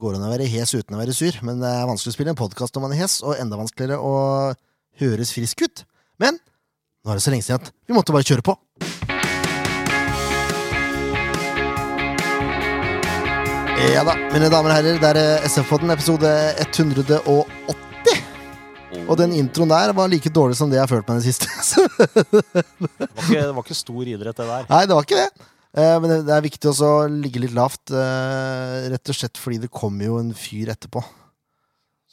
går an å være hes uten å være sur, men det er vanskelig å spille en podkast når man er hes, og enda vanskeligere å høres frisk ut. Men nå er det så lenge siden at vi måtte bare kjøre på. Ja da, mine damer og herrer, det er eh, SF-podden, episode 180. Og den introen der var like dårlig som det jeg har følt meg i det siste. Så Det var ikke, det var ikke stor idrett, det der. Nei, det var ikke det. Eh, Men det det er viktig også å ligge litt lavt, eh, rett og slett fordi det kommer jo en fyr etterpå.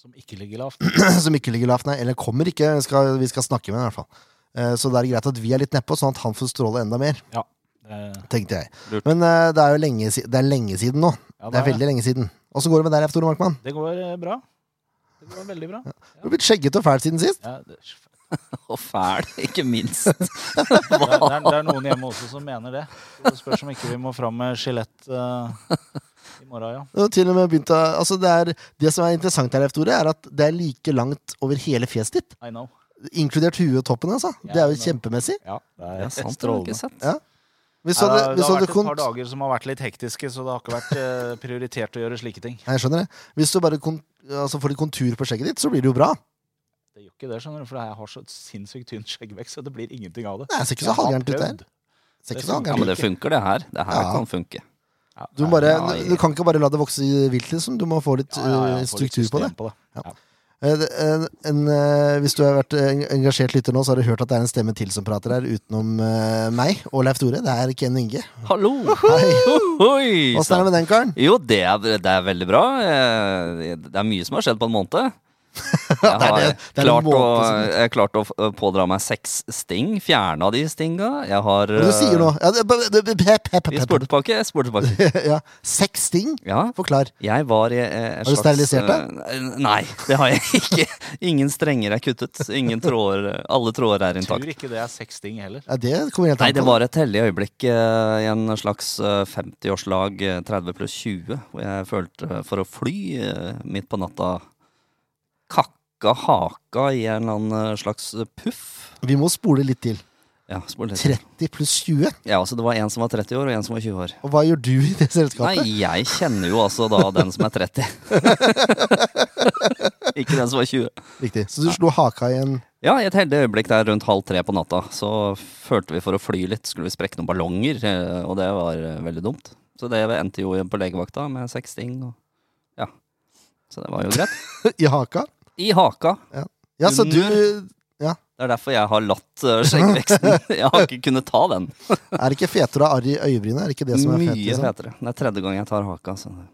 Som ikke ligger lavt. Som ikke ligger lavt, nei. Eller kommer ikke, vi skal, vi skal snakke med ham i hvert fall. Eh, Så det er greit at vi er litt nedpå, sånn at han får stråle enda mer, Ja. Eh, tenkte jeg. Lurt. Men eh, det er jo lenge, si- det er lenge siden nå. ja, Det er veldig lenge siden. Åssen går det med deg, F. Tore Markmann? Det går eh, bra. Det går veldig bra. Du har blitt skjeggete og fæl siden sist. Ja, det, det, Og fæl, ikke minst. er, det, er, det er noen hjemme også som mener det. Så Det spørs om ikke vi må fram med skjelett eh, i morgen, ja. Du har til og med begynt å, altså det, er, det som er interessant her, F. Tore, er at det er like langt over hele fjeset ditt. I know. Inkludert huet og toppen, altså. Ja, Det er jo men- kjempemessig. Ja, det Det er er sant, det har jeg strålende. ikke sett. Ja. Vi Nei, så det, det, vi det så har det vært et kont- par dager som har vært litt hektiske, så det har ikke vært eh, prioritert å gjøre slike ting. Nei, Jeg skjønner det. Hvis du bare kon altså får litt kontur på skjegget ditt, så blir det jo bra. Det gjør ikke det, skjønner du, for jeg har så sinnssykt tynn skjeggvekst, så det blir ingenting av det. Nei, det ser ikke Jeg så har halvgærent ut, det her. prøvd. Ser Det ikke så funker. Ja, men det halvgærent ut. funker, det her. Det her Ja. kan funke. Ja, Du, må bare, eh, Ja, jeg- du kan ikke bare la det vokse i vilt, liksom. Du må få litt ja, ja, ja, eh, får litt struktur på det. system på Eh, det. det- En, en, eh, hvis du har vært en- engasjert lytter nå, så har du hørt at det er en stemme til som prater her, utenom eh, meg og Leif Tore. Det er Ken Inge. Hallo! Hei. Oi, Åssen er det med den karen? Jo, det er, det er veldig bra. Eh, Det er mye som har skjedd på en måned. Jeg det er har det- det er en klart, å, måned som- jeg har klart å f- pådra meg seks sting. Fjerna de stinga. Jeg Hva er har eh, det du sier nå? Ja, det- det- det- pep, pep, pep, Vi pep. spurte tilbake. Jeg spurte tilbake. Ja, Seks ting? Ja, Forklar. Jeg var i eh, en Har du slags, sterilisert deg? eh, Nei, det har jeg ikke. Ingen strenger er kuttet. Ingen tråder, alle tråder er Jeg tror intakt. ikke det er seks ting heller. Ja, det kommer helt Nei, an det på. var et hellig øyeblikk eh, i en slags eh, 50-årslag, eh, 30 pluss 20, hvor jeg følte for å fly eh, midt på natta. Kakka haka i en eller annen eh, slags eh, puff. Vi må spole litt til. Ja, spør litt. 30 pluss 20? ja, altså det var en som var 30 år, og en som var 20 år. Og hva gjør du i det selskapet? Nei, jeg kjenner jo altså da den som er 30. ikke den som var 20. Riktig. Så du slo haka i en Ja, i et heldig øyeblikk der rundt halv tre på natta, så følte vi for å fly litt, skulle vi sprekke noen ballonger, eh, og det var eh, veldig dumt. Så det endte jo på legevakta med seks sting, og ja. Så det var jo greit. i haka? I haka. Ja, så du Er Det er derfor jeg har latt eh, skjeggveksten. Jeg har ikke kunnet ta den. det ikke fetere av arr i øyebrynet? Er det ikke det som er Mye fett? Liksom? fetere. Det er tredje gang jeg tar haka. Så jeg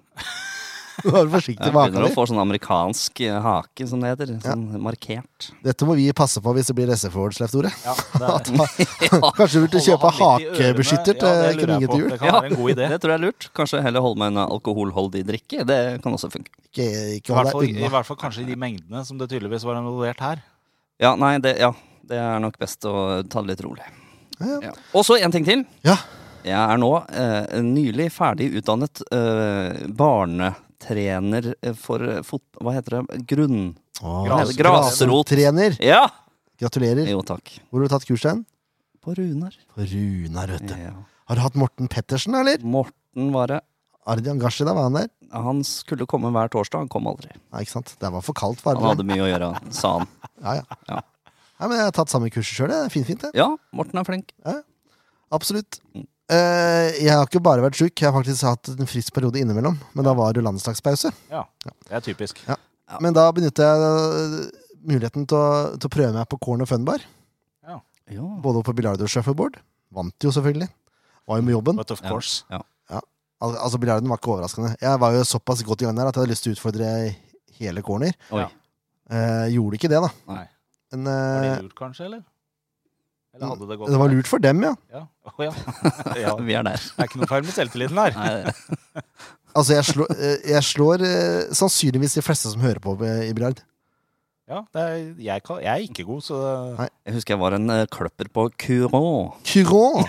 Du er forsiktig med haka begynner å di. få sånn amerikansk eh, hake, som det heter. Sånn markert. Dette må vi passe på hvis det blir SF-awards, Leif Tore. Ja, det er, Kanskje du burde kjøpe hakebeskytter til det lurer Ken jeg Inge på. til jul? Det kan være en god idé. det tror jeg er lurt. Kanskje heller holde meg unna alkoholholdig drikke. Det kan også funke. Ikke, I ikke hold hvert, fall, deg I unna. hvert fall kanskje i de mengdene som det tydeligvis var involvert her. Ja, nei, det, ja, det er nok best å ta det litt rolig. Ja, Ja. Og så en ting til. Ja. Jeg er nå eh, nylig ferdig utdannet eh, barnetrener for eh, fot... Hva heter det? Grunn... Åh, Gras- Grasrottrener. Ja! Gratulerer. Jo, takk. Hvor har du tatt kursen? På Runar. På Runar, vet du. Ja. Har du hatt Morten Pettersen, eller? Morten var det. Ardian Gashi, da var han der. Han skulle komme hver torsdag, han kom aldri. Nei, ikke sant. Det var for kaldt for Han Ardian. hadde mye å gjøre, sa han. Ja, ja. Ja. Nei, men jeg har tatt samme kurset sjøl, det. er Fint, fint, det. Ja, Morten er flink. Absolutt. Eh, jeg har ikke bare vært sjuk, jeg har faktisk hatt en frisk periode innimellom. Men da var det landslagspause. Ja, Det er typisk. Ja. Men da benytter jeg eh, muligheten til å, til å prøve meg på corn og funbar. Ja. Både på biljard og shuffleboard. Vant jo, selvfølgelig. Var jo med jobben. But of course. Ja. Al altså, Biljarden var ikke overraskende. Jeg var jo såpass godt i gang der at jeg hadde lyst til å utfordre hele corner. Oi. Ja. Eh, gjorde ikke det, da. Nei. Men Var det eh, lurt, kanskje? Eller Eller hadde det gått det var lurt for dem, ja. Ja. Å, ja. ja. Vi er der. Det er ikke noe feil med selvtilliten her. Nei, det- Altså, jeg slår, eh, jeg slår eh, sannsynligvis de fleste som hører på eh, i biljard. Ja, det er, jeg, kan, jeg er ikke god, så Nei. jeg husker jeg var en eh, kløpper på Curon. Curon!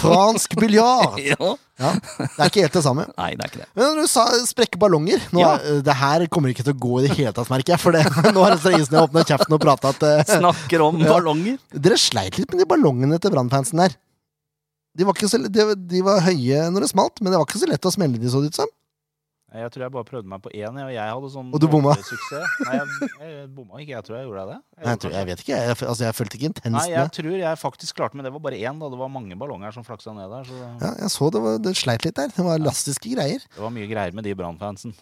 Fransk biljard! Ja. Ja, Det er ikke helt det samme. Nei, det er ikke det. Men når du sa sprekke ballonger nå, Ja. eh, Det her kommer ikke til å gå i det hele tatt, merker jeg. For det, nå er det så lenge siden jeg åpna kjeften og prata at eh, Snakker om Ja. ballonger. Dere sleit litt med de ballongene til brannfansen der. De var, ikke så, de, de var høye når det smalt, men det var ikke så lett å smelle de, så det ut som. Jeg tror jeg bare prøvde meg på én, jeg, og jeg hadde sånn Og du bomma. vanlig Suksess. Nei, jeg, jeg bomma ikke. Jeg tror jeg gjorde det. Jeg, tror, jeg vet ikke. Jeg, f- altså, jeg følte ikke intenst Nei, jeg med. tror jeg faktisk klarte men Det var bare én, da. Det var mange ballonger som flaksa ned der. Så det, Ja, jeg så det, var, det sleit litt der. Det var elastiske greier. det var mye greier med de Brann-fansen.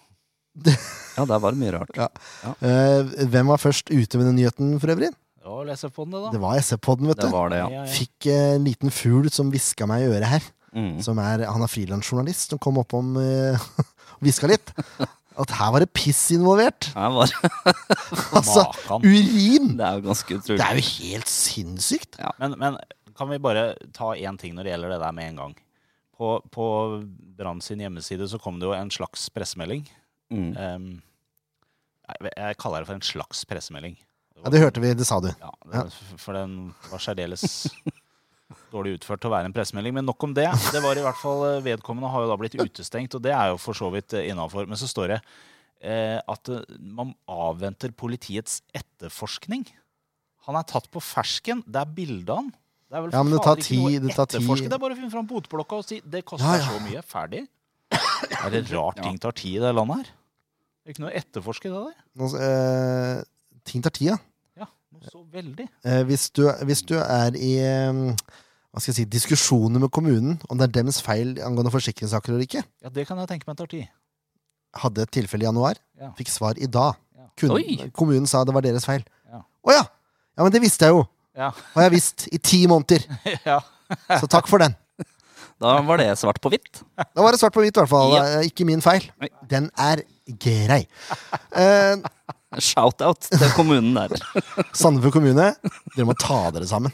Ja, der var det mye rart. Eh, hvem var først ute med den nyheten, for øvrig? Ja, les på den, det, Det var SF-podden, vet Det du. var det, ja. da. Ja, ja. Fikk eh, en liten fugl som hviska meg i øret her. Mm. Som er, han er frilansjournalist, som kom opp om eh, og hviska litt. At her var det piss involvert! Her var Altså, Makan. urin! Det er jo ganske Det utrolig. er jo helt sinnssykt! Men, men kan vi bare ta én ting når det gjelder det der med en gang? På, på Brann sin hjemmeside så kom det jo en slags pressemelding. Mm. Em, jeg, jeg kaller det for en slags pressemelding. Ja, det hørte vi, det sa du. Ja, det, For den var særdeles dårlig utført til å være en pressemelding. Men nok om det. Det var i hvert fall eh, Vedkommende har jo da blitt utestengt, og det er jo for så vidt innafor. Men så står det eh, at eh, man avventer politiets etterforskning. Han er tatt på fersken. Det er bilde av han. Det er vel Ja, men det fader tar ikke noe tid, det tar tid. etterforske. Det er bare å finne fram botblokka og si det koster Ja, ja. så mye. Ferdig. Er det rart Ja. ting tar tid i det landet her? Det er ikke noe å etterforske i det der. Nå, eh, ting tar tid, ja. Ja, noe så veldig. Eh, hvis, du, hvis du er i eh, hva skal jeg si, diskusjoner med kommunen om det er deres feil angående forsikringssaker eller ikke Ja, det kan jeg tenke meg tar tid. Hadde et tilfelle i januar, Ja. fikk svar i dag. Ja. Kun, Oi! kommunen sa det var deres feil. Å Ja. ja! Ja, men det visste jeg jo! Ja. Har jeg visst i ti måneder. ja. Så takk for den. Da var det svart på hvitt. Da var det svart på hvitt, i hvert fall. Ja. Eh, Ikke min feil. Nei. Den er grei. Eh, Shout-out til kommunen der. Sandefjord kommune, dere må ta dere sammen.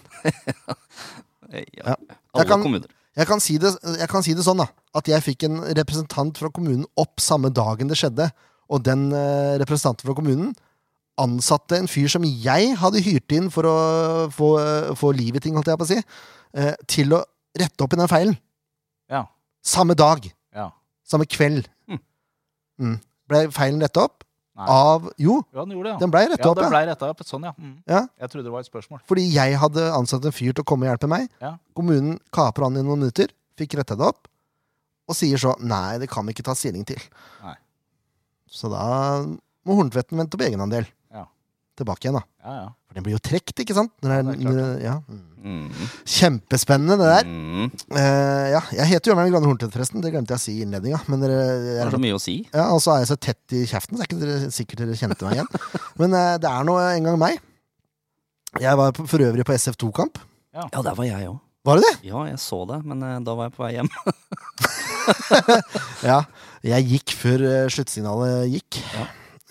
Ja. Jeg Alle kan- kommuner. Jeg kan, si det, jeg kan si det sånn, da. At jeg fikk en representant fra kommunen opp samme dagen det skjedde. Og den eh, representanten fra kommunen ansatte en fyr som jeg hadde hyrt inn for å få, eh, få liv i ting, holdt jeg på å si, eh, til å rette opp i den feilen. Ja. Samme dag. Ja. Samme kveld. Mm. Mm. Ble feilen retta opp? Nei. Av Jo, Jo, han gjorde det, ja. den blei retta ja, opp, det ja. ble retta opp. Sånn, ja. Mm. Ja. Jeg trodde det var et spørsmål. Fordi jeg hadde ansatt en fyr til å komme og hjelpe meg. Ja. Kommunen kaper han i noen minutter, fikk retta det opp, og sier så Nei, det kan vi ikke ta stilling til. Nei. Så da må Horntvetten vente på egenandel. Ja. Tilbake igjen, da. Ja, ja. For den blir jo trukket, ikke sant? Når det Ja, er, det er klart. når det- ja. Mm. Mm. Kjempespennende, det der. Mm. Eh, ja, jeg heter Jørgen Grane Horntvedt, forresten. Det glemte jeg å si i innledninga. Men dere, Det jeg er så mye å si. ja, og så er jeg så tett i kjeften, så er ikke dere, sikkert dere kjente meg igjen. Men eh, det er nå en gang meg. Jeg var på- for øvrig på SF2-kamp. Ja, der var jeg òg. Var det det? Ja, jeg så det, men eh, da var jeg på vei hjem. Ja, jeg gikk før eh, sluttsignalet gikk. Ja.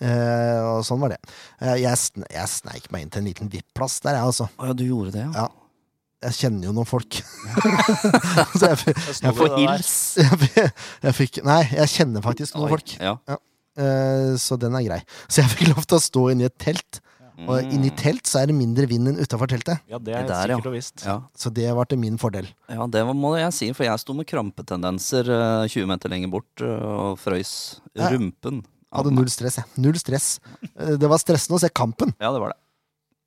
Eh, og sånn var det. Eh, jeg, sn jeg sneik meg inn til en liten VIP-plass der, jeg altså. Å ja, du gjorde det, Ja. Jeg kjenner jo noen folk. så jeg, f- Jeg sto jeg, ved får det der. hils. Jeg, f- jeg fikk Nei, jeg kjenner faktisk noen Oi, folk. Ja. Eh, så den er grei. Så jeg fikk lov til å stå inni et telt. Og Mm. inni telt så er det mindre vind enn utafor teltet. Ja, det er Det der, ja. sikkert og visst. Ja. Så det var til min fordel. ja, det var- må jeg si, for jeg sto med krampetendenser eh, 20 meter lenger bort eh, og frøys Ja. rumpen. av Hadde meg. null stress, jeg. Null stress. Eh, Det var stressende å se kampen. Ja, det var det.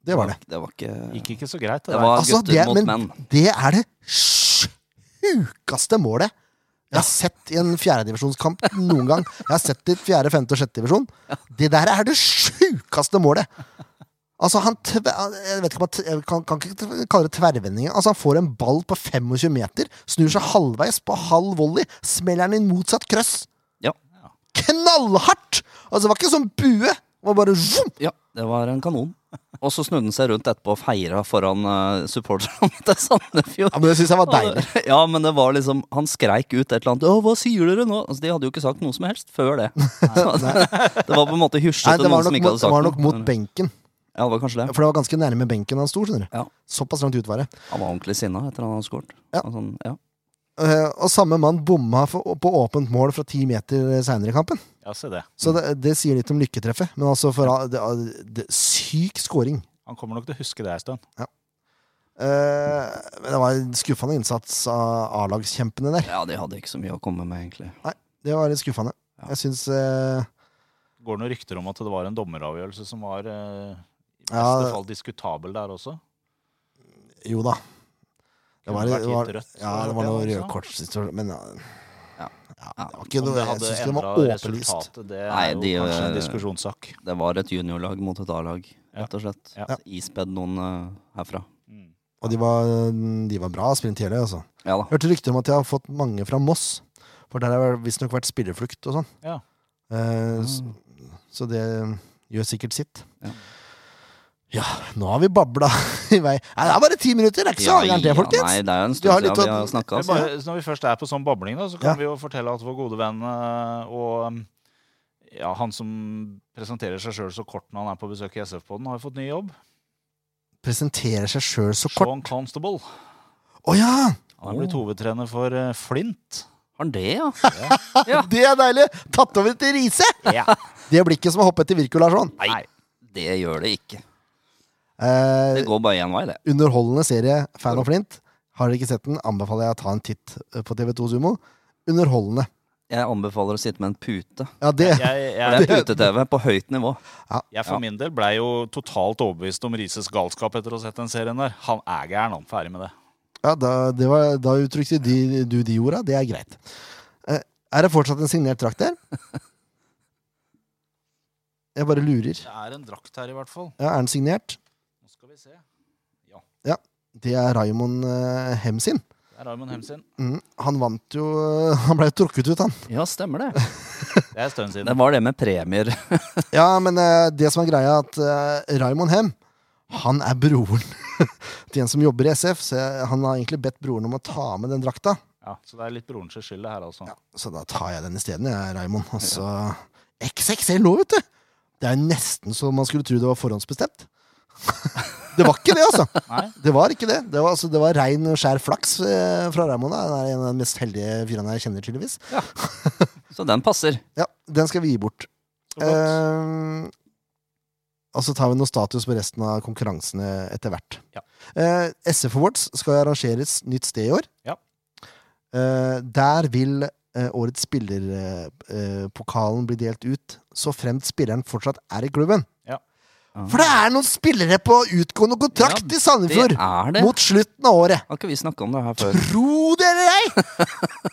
Det var det. Det var ikke Gikk ikke så greit, det, Det var Altså, gutter det, mot men menn. det er det sjukeste målet jeg har sett i en fjerdedivisjonskamp noen gang. Jeg har sett det i fjerde, femte og sjette divisjon. Det der er det sjukeste målet! Altså, han tve- Jeg vet ikke om han t- jeg kan, kan ikke t- kalle det tverrvendinger. Altså, han får en ball på 25 meter, snur seg halvveis på halv volley, smeller den i motsatt krøss. Ja. Knallhardt! Altså, det var ikke sånn bue. Det var bare zoom! ja, det var en kanon. Og så snudde han seg rundt etterpå og feira foran eh, supporterne til Sandefjord. Ja, men det syns jeg var deilig. Ja, men det var liksom Han skreik ut et eller annet 'Å, hva sier dere nå?' Altså, De hadde jo ikke sagt noe som helst før det. det var på en måte Nei, hysjete det noen var som nok ikke hadde mot, sagt var nok mot noe. benken. Ja, det var kanskje det. For det var ganske nærme benken han sto. skjønner du Ja. Såpass langt ut var det. Han var ordentlig sinna etter at han hadde skåret. Ja. Og Sånn, ja. Eh, og samme mann bomma for, på åpent mål fra ti meter seinere i kampen. Ja, se det. Så det, det sier litt om lykketreffet. Men altså, for, all- det, det, syk scoring. Han kommer nok til å huske det en stund. Eh, men det var en skuffende innsats av A-lagskjempene der. ja, de hadde ikke så mye å komme med, egentlig. Det var litt skuffende. Ja. Jeg syns eh, Går det noen rykter om at det var en dommeravgjørelse som var eh, i beste Ja, det- fall diskutabel der også? Jo da. Det var, Kunne det vært var, gitt rødt, ja, så det var noe hørte jeg også. rødkortsituasjon, men ja. Ja. Ja, Ja. det var ikke Om noe det jeg hadde synes det var endra åpenlyst. eh, resultatet, det er Nei, jo de, kanskje en øh, diskusjonssak. Det var et juniorlag mot et A-lag, Ja. rett og slett. Ja. Ispedd noen eh, herfra. Mm. Og de var, mm, de var bra sprint hele, altså. Ja da. Hørte rykter om at jeg har fått mange fra Moss. For der har det visstnok vært spillerflukt og sånn. Ja. Eh, s- Så det gjør sikkert sitt. Ja. Ja, nå har vi babla i vei. Nei, det er bare ti minutter! Det er ikke så gærent, det, folkens. Nei, det er jo en Vi har stund litt sånn- siden vi av- har snakka. Men Bare, så når vi først er på sånn babling, da, så kan Ja. vi jo fortelle at vår gode venn eh, og eh, ja, han som presenterer seg sjøl så kort når han er på besøk i SF-poden, har jo fått ny jobb. Presenterer seg sjøl så kort. Sean Constable. Å ja! Han er blitt hovedtrener for eh, Flint. altså. Har han det, ja? Ja. Det er deilig! Tatt over til Riise! Ja. Det blikket som har hoppet til Virko Larsson. Nei, det gjør det ikke. Eh, Det går bare én vei, det. underholdende serie, fan av Flint. Har dere ikke sett den, anbefaler jeg å ta en titt eh, på TV2 Sumo. Underholdende. Jeg anbefaler å sitte med en pute. Ja, det Jeg, For jeg, det er pute-TV på høyt nivå. jeg for min del blei jo totalt overbevist om Rises galskap etter å ha sett den serien der. Han er gæren, han. Ferdig med det. Ja, da, det var, da uttrykte de, du de orda. Det er greit. Eh, er det fortsatt en signert drakt der? Jeg bare lurer. Det er en drakt her, i hvert fall. Ja, er den signert? Nå skal vi se. Det er Raymond eh, Hem sin. Det er Raymond Hemsin. Mm, han vant jo eh, Han ble jo trukket ut, han. Ja, stemmer det. Det er en stund siden. Det var det med premier. Ja, men eh, det som er greia, er at eh, Raymond Hem han er broren til en som jobber i SF, så jeg, han har egentlig bedt broren om å ta med den drakta. Ja, så det er litt brorens skyld, det her, altså. Ja, så da tar jeg den isteden, jeg, Raymond. Og så XXL nå, vet du! Det er jo nesten så man skulle tro det var forhåndsbestemt. det var ikke det, altså! Nei? Det var ikke det. Det var, altså, det var rein og skjær flaks eh, fra Raymond. da. Han er en av de mest heldige fyrene jeg kjenner, tydeligvis. Så den passer. Ja, den skal vi gi bort. Så flott. Eh, og så tar vi noe status på resten av konkurransene etter hvert. Ja. Eh, SF Awards skal arrangeres nytt sted i år. Ja. Eh, der vil eh, årets spillerpokalen bli delt ut, så fremt spilleren fortsatt er i klubben. For det er noen spillere på utgående kontrakt Ja, i Sandefjord! Det er det. Mot slutten av året. Har ikke vi snakka om det her før? Tro det eller ei!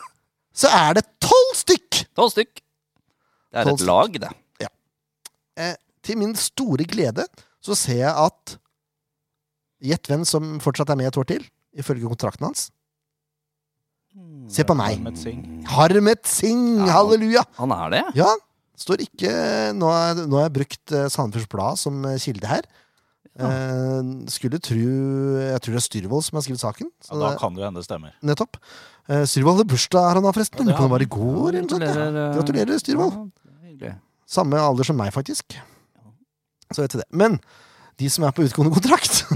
så er det tolv stykk! Tolv stykk. Det er Tolv et stykk. lag, det. til min store glede så ser jeg at Gjett hvem som fortsatt er med et år til, ifølge kontrakten hans. Se på meg. Hmm. Harmet Singh. Harmet Singh! Ja. Halleluja! Han er det? Ja, står ikke Nå har nå har jeg brukt eh, Sandefjords Blad som eh, kilde her. Ja. Eh, skulle tru Jeg tror det er Styrvold som har skrevet saken. Ja, Så da det, kan det jo hende det stemmer. nettopp. Eh, Styrvold hadde bursdag her og nå, forresten. Ja, det Lurer på om det har var i går. eller noe sånt, ja. eh, Gratulerer, Styrvold. Ja, det er hyggelig. Samme alder som meg, faktisk. Så vet du det. Men de som er på utgående kontrakt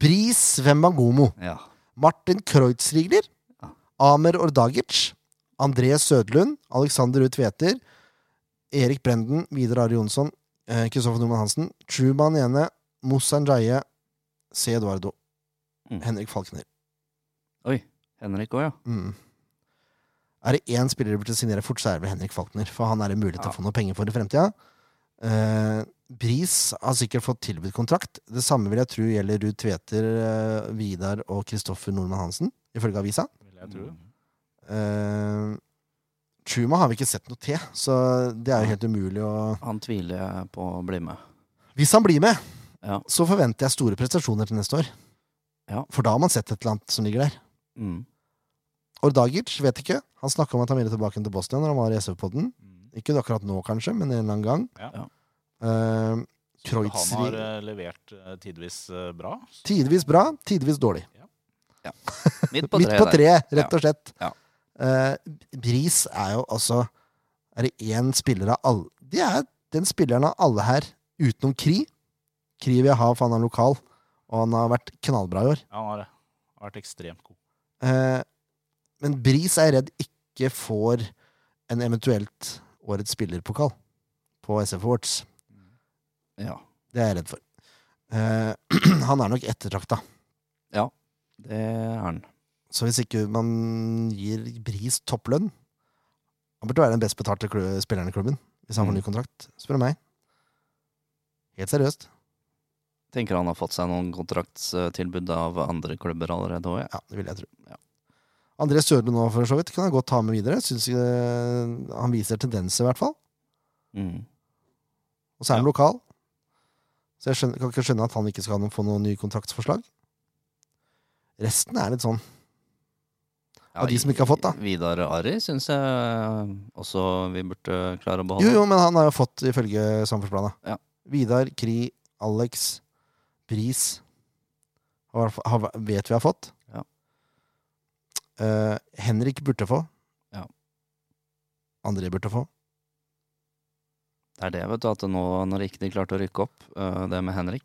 Bris Wembangomo. Ja. Martin Kreutzrigler, Ja. Amer Ordagic, André Sødlund, Alexander Ruud Tveter, Erik Brenden, Vidar Ari Jonsson, eh, Kristoffer Normann Hansen, Truman Ene, Moussa Njaye, C. Eduardo, Mm. Henrik Falkner. Henrik òg, ja. Mm. Er det én spiller du burde signere fort, så er det vel Henrik Falkner, for han er det mulig til Ja. å få noe penger for i fremtida. Eh, Bris har sikkert fått tilbudt kontrakt. Det samme vil jeg tro gjelder Ruud Tveter, eh, Vidar og Kristoffer Normann Hansen, ifølge avisa. Vil jeg tro. Eh, Truma har vi ikke sett noe til, så det er jo helt umulig å Han tviler jeg på å bli med. Hvis han blir med, Ja. så forventer jeg store prestasjoner til neste år. Ja. For da har man sett et eller annet som ligger der. Mm. Ordagic vet ikke. Han snakka om at han ville tilbake til Bosnia når han var i SV-podden. Mm. Ikke akkurat nå, kanskje, men en eller annen gang. Ja. Ja. Eh, Så Han Kreutzer- har eh, levert eh, tidvis eh, bra. tidvis bra, tidvis dårlig. Midt på Midt treet på der. treet, rett og slett. Ja. Eh, Bris er jo altså Er det én spiller av alle Det er den spilleren av alle her, utenom Kri. Kri vil jeg ha, for han er lokal, og han har vært knallbra i år. Ja, han har det. Han har vært ekstremt god. Eh, men Bris er jeg redd ikke får en eventuelt årets spillerpokal på SF Awards. Ja. Det er jeg redd for. Eh, han er nok ettertrakta. Det er han. Så hvis ikke man gir Bris topplønn Han burde være den best betalte klu- spilleren i klubben hvis han får Mm. ny kontrakt, spør du meg. Helt seriøst. Tenker han har fått seg noen kontraktstilbud av andre klubber allerede òg, ja. Ja, det vil jeg tro. Ja. André Sørlund nå, for så vidt, kan jeg godt ta med videre. Synes jeg, eh, han viser tendenser, i hvert fall. Mm. Og så er han lokal. Så jeg skjønner, kan ikke skjønne at han ikke skal ha noen- få noen nye kontraktsforslag. Resten er litt sånn Av de som ikke har fått, da. Vidar Ari syns jeg eh, også vi burde Jo, klare å beholde. jo, men han har jo fått ifølge samfunnsplanen. Ja. Vidar, Kri, Alex, Bris har, har, vet vi har fått. Ja. Eh, Henrik burde få. Ja. André burde få. Det er det, vet du, at nå når ikke de klarte å rykke opp, eh, det med Henrik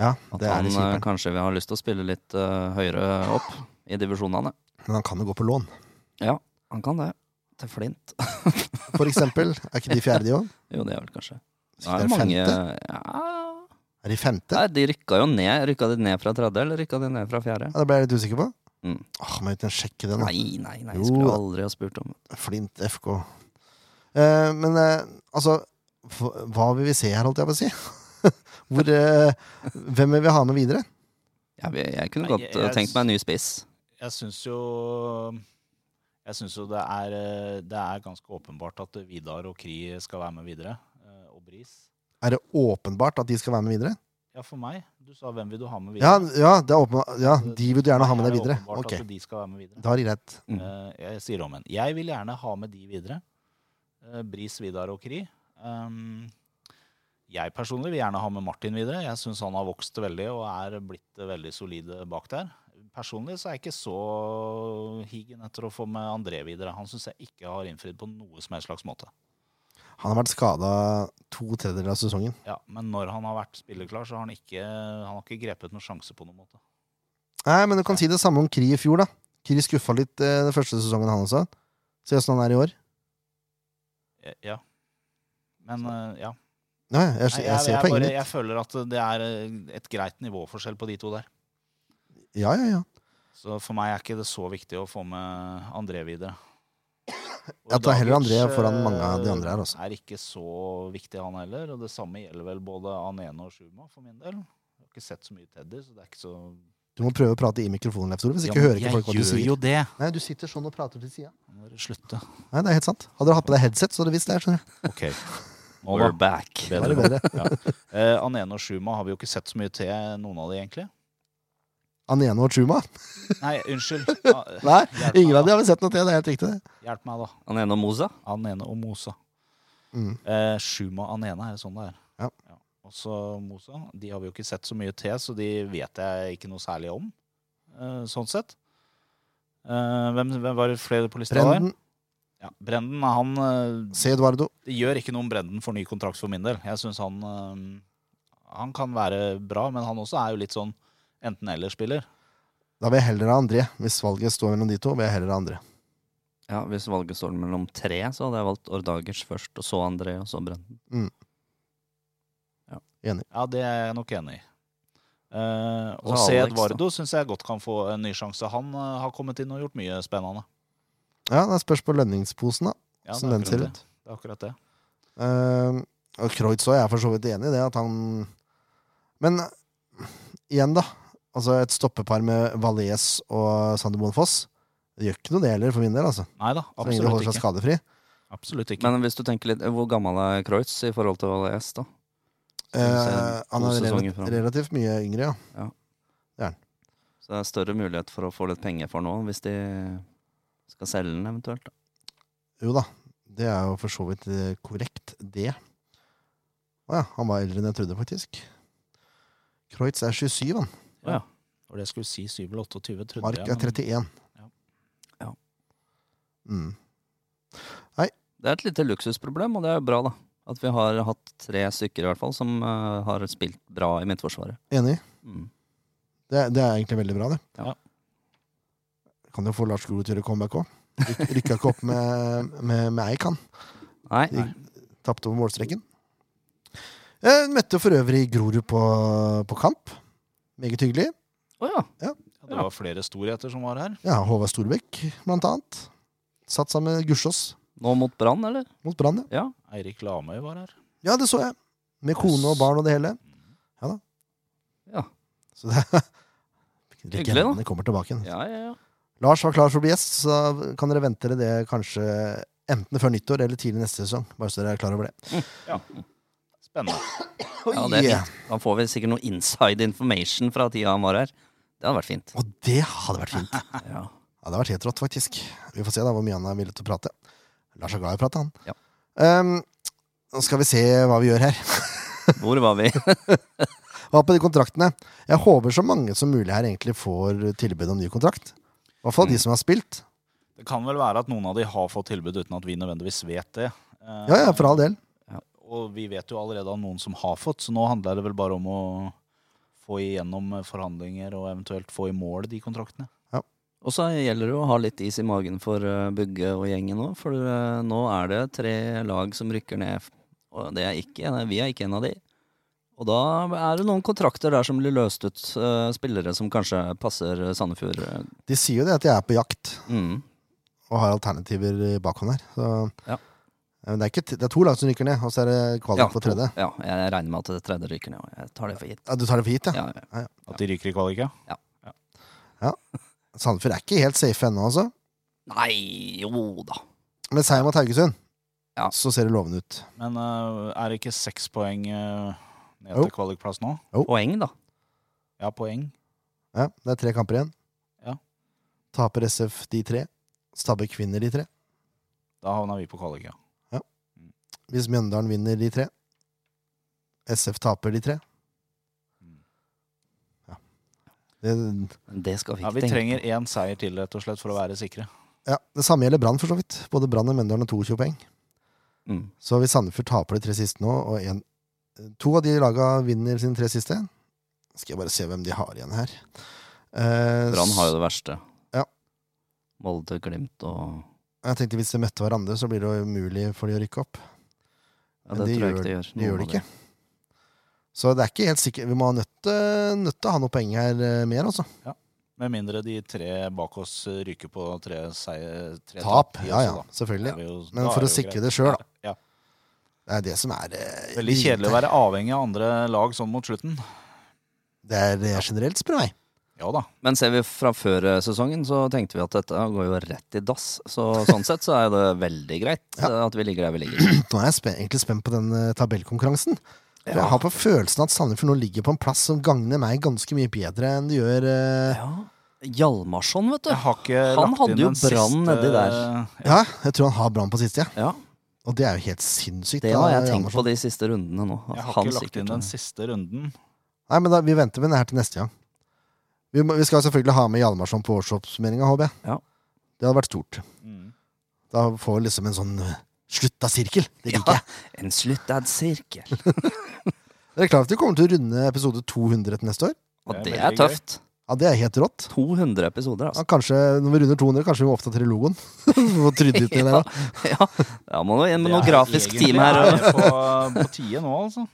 Ja, At det er han litt eh, kjipt. kanskje vil ha lyst til å spille litt eh, høyere opp i divisjonene. Men han kan jo gå på lån. Han kan det. Til Flint. For eksempel. Er ikke de fjerde, de òg? Jo, det er vel kanskje. Det Er er de mange femte? ja. Er de femte? Nei, de rykka jo ned. Rykka de ned fra tredje, eller rykka de ned fra fjerde? Ja, det ble jeg litt usikker på. Mm. Åh, må jeg ut og sjekke det nå. Nei, nei, nei. Jo Skulle da. aldri ha spurt om det. Flint FK. Eh, men eh, altså f- Hva vil vi se her, holdt jeg på å si? Hvor, eh, hvem vil vi ha med videre? Jeg, jeg, jeg kunne Nei, godt jeg- eh, tenkt meg en ny spiss. Jeg syns jo Jeg syns jo det er, eh, det er ganske åpenbart at Vidar og Kri skal være med videre. eh, Og Bris. Er det åpenbart at de skal være med videre? Ja, for meg. Du sa hvem vil du ha med Ja, videre? ja, det er åpen, ja de vil du gjerne ha med Det deg er videre. åpenbart altså. Ok, at de skal være med videre. Da er det greit. Mm. Eh, Jeg sier om igjen. Jeg vil gjerne ha med de videre. Eh, Bris, Vidar og Kri. Um, jeg personlig vil gjerne ha med Martin videre. Jeg syns han har vokst veldig og er blitt eh, veldig solid eh, bak der. Personlig så er jeg ikke så higen etter å få med André videre. Han syns jeg ikke har innfridd på noe som helst slags måte. Han har vært skada to tredjedeler av sesongen. Ja, Men når han har vært spillerklar, så har han ikke, han har ikke grepet noen sjanse på noen måte. Nei, men du kan si det samme om Kri i fjor, da. Kri skuffa litt eh, den første sesongen han også. Se åssen han er i år. Eh, Ja. Men eh, ja. Ja, jeg, jeg, Nei, jeg, ser poenget bare, ditt. jeg føler at det er eh, et greit nivåforskjell på de to der. Ja, ja, ja. Så for meg er ikke det så viktig å få med André videre. Og Jeg tar heller André Dagic, foran mange av de eh, andre her, altså. Er ikke så viktig, han heller. Og det samme gjelder vel både Anene og Schuma, for min del. Jeg har ikke sett så mye Teddy, så det er ikke så Du må prøve å prate i mikrofonen, Leif Tore, hvis Ja, ikke men hører ikke folk hva du sier. jo det! Nei, du sitter sånn og prater til sida. Nå må dere slutte. Nei, det er helt sant. Hadde du hatt på deg headset, så hadde du visst det. her, skjønner du. OK. Nå da. We're back. Da er Bedre. det bedre. Ja. Eh, Anene og Schuma har vi jo ikke sett så mye til, noen av de, egentlig. Anene og Chuma? Nei, unnskyld. Ah, Nei, Hjelp meg, ingen av da. de har vi sett noe til. Det er helt riktig, det. Hjelp meg, da. Han ene og Moza. Anene og Mosa. Mm. Eh, Shuma Anene, er det sånn det er? Ja. Og så Mosa. De har vi jo ikke sett så mye til, så de vet jeg ikke noe særlig om. Eh, sånn sett. Eh, hvem, hvem var det flere på lista der? Brenden, Ja, Brenden, han eh, C. Eduardo. Det gjør ikke noe om Brenden får ny kontrakt for min del. Jeg synes han eh, Han kan være bra, men han også er jo litt sånn enten-eller-spiller. Da vil jeg heller ha André. Hvis valget står mellom de to, vil jeg heller ha André. Ja, Hvis valget står mellom tre, så hadde jeg valgt Ordagers først, og så André, og så Brenden. Ja, det er jeg nok enig i. Eh, Og og så C. Alex, da. Eduardo syns jeg godt kan få en ny sjanse. Han eh, har kommet inn og gjort mye spennende. Ja, det spørs på lønningsposen, da. Ja, Som det den er akkurat ser det. ut. Det er akkurat det. Ehm, og Kreutz òg, jeg er for så vidt enig i det. At han Men igjen, da. Altså et stoppepar med Valais og Sander Moen Foss. Det gjør ikke noe, det heller, for min del. altså. Nei da, Så lenge de holder absolutt seg ikke. skadefri. Absolutt ikke. Men hvis du tenker litt, hvor gammel er Kreutz i forhold til Valais, da? Eh, han To er sesonger relativt, fram. relativt mye yngre, ja. Så det er større mulighet for å få litt penger for nå, hvis de skal selge den eventuelt. Da. Jo da, det er jo for så vidt eh, korrekt, det. Å ja, han var eldre enn jeg trodde, faktisk. Kreutz er 27, han. Og det jeg skulle si 7 eller 28, trodde Mark jeg. er 31. Ja. Ja. Mm. Det er et lite luksusproblem, og det er jo bra, da. At vi har hatt tre stykker i hvert fall som eh, har spilt bra i Midtforsvaret. Enig. Mm. Det, er- det er egentlig veldig bra, det. Ja. Kan jo få Lars Grorud til å gjøre comeback òg. Rykka ikke opp med, med, med Eik, han. Nei, De tapte over målstreken. Eh, møtte for øvrig Grorud på, på kamp. Meget hyggelig. å ja. Men Det var flere storheter som var her. Ja, Håvard Storbekk, blant annet. Satt sammen med Gussiås Nå mot Brann, eller? mot Brann, ja. Ja. Eirik Lamøy var her. Ja, det så jeg. Med kone og barn og det hele. Ja. Så det Hyggelig, da. Legendene kommer tilbake igjen. Ja, ja, ja. Lars var klar for å bli gjest, så kan dere vente dere det kanskje enten før nyttår eller tidlig neste sesong. Bare så dere er klar over det. Spennende. Ja, Oi, det er fint. Han får vel sikkert noe inside information fra tida han var her. Det hadde vært fint. Og det hadde vært fint. Ja. Ja, det hadde vært helt rått, faktisk. Vi får se da hvor mye han er villig til å prate. Lars er glad i å prate, han. Ja. Ehm, nå skal vi se hva vi gjør her. Hvor var vi? Hva på de kontraktene? Jeg håper så mange som mulig her egentlig får tilbud om ny kontrakt. I hvert fall de som har spilt. Det kan vel være at noen av de har fått tilbud uten at vi nødvendigvis vet det. Eh, Ja, ja, for all del. Og vi vet jo allerede om noen som har fått, så nå handler det vel bare om å få igjennom forhandlinger og eventuelt få i mål de kontraktene. Og så gjelder det å ha litt is i magen for eh, Bugge og gjengen òg, for eh, nå er det tre lag som rykker ned. Og det er ikke, vi er ikke en av de. Og da er det noen kontrakter der som blir løst ut. eh, Spillere som kanskje passer Sandefjord. eh, De sier jo det at de er på jakt Mm. og har alternativer i bakhånd her. Så eh, Ja. Men det, er ikke, t- det er to lag som rykker ned, og så er det kvalik på tredje. Ja, jeg regner med at det tredje ryker ned. og Jeg tar det for gitt. Ja, du tar det for gitt, ja. Ja, ja. At de ryker i kvaliket. Sandefjord er ikke helt safe ennå, altså. Nei, jo da. Med seier mot Haugesund Ja. så ser det lovende ut. Men eh, er det ikke seks poeng eh, ned Jo. til kvalikplass nå? Poeng, da. Ja, poeng. Ja, det er tre kamper igjen. Ja. Taper SF de tre. Stabber kvinner de tre. Da havna vi på kvalik, ja. Hvis Mjøndalen vinner de tre, SF taper de tre. Ja. Det, Men det skal vi ja ikke vi tenke trenger én seier til, rett og slett, for å være sikre. ja, det samme gjelder Brann, for så vidt. Både Brann og Mjøndalen har 22 poeng. på. Mm. Så hvis Sandefjord taper de tre siste nå, og en, eh, to av de laga vinner sine tre siste Skal jeg bare se hvem de har igjen her. Eh, Brann har jo det verste. Ja. Molde, Glimt og Jeg tenkte Hvis de møtte hverandre, så blir det jo umulig for de å rykke opp. ja, Men Det de tror jeg gjør- ikke de gjør. Det gjør Noen det av ikke. Så det er ikke helt sikkert. Vi må ha nødt til- nødt til å ha noe poeng her eh, mer, altså. Med mindre de tre bak oss eh, ryker på tre, seier, tre Tap. i Ja oss, ja, da. selvfølgelig. Er vi jo- Men da for er å det jo sikre greit. det sjøl, da. Ja. Det er det som er eh, Veldig kjedelig å være avhengig av andre lag sånn mot slutten. Det er eh, generelt, spør du meg. Ja da. Men ser vi fra før eh, sesongen, så tenkte vi at dette går jo rett i dass. Så sånn sett så er det veldig greit eh, at vi ligger der vi ligger. Nå er jeg spe egentlig spent på den eh, tabellkonkurransen. For Ja. Jeg har på følelsen at Sandefjord nå ligger på en plass som gagner meg ganske mye bedre enn det gjør eh, Ja. Hjalmarsson, vet du. Jeg har ikke Han lagt hadde inn jo den Brann siste- nedi der. Ja, jeg tror han har Brann på siste, ja. Ja, Og det er jo helt sinnssykt. Det da, har jeg Hjalmarsson. tenkt på de siste rundene nå. at Jeg har han ikke lagt sikkert- inn den siste runden. Nei, men da, vi venter med den her til neste gang. Vi, må, vi skal selvfølgelig ha med Hjalmarsson på årsoppsummeringa, håper jeg. Ja. Det hadde vært stort. Mm. Da får vi liksom en sånn eh, slutta sirkel. Det liker Ja, jeg. en sluttad sirkel. Dere er klar over at vi kommer til å runde episode 200 til neste år? Og Det det er er veldig gøy. tøft. Ja, det er helt rått. 200 episoder, Ja, altså. kanskje, når vi runder 200, kanskje vi må oppdatere logoen. Få trydde ut i det der, da. Ja, ja må noe, med Det noe er grafisk egentlig- team her. Det er på, på tide nå, altså.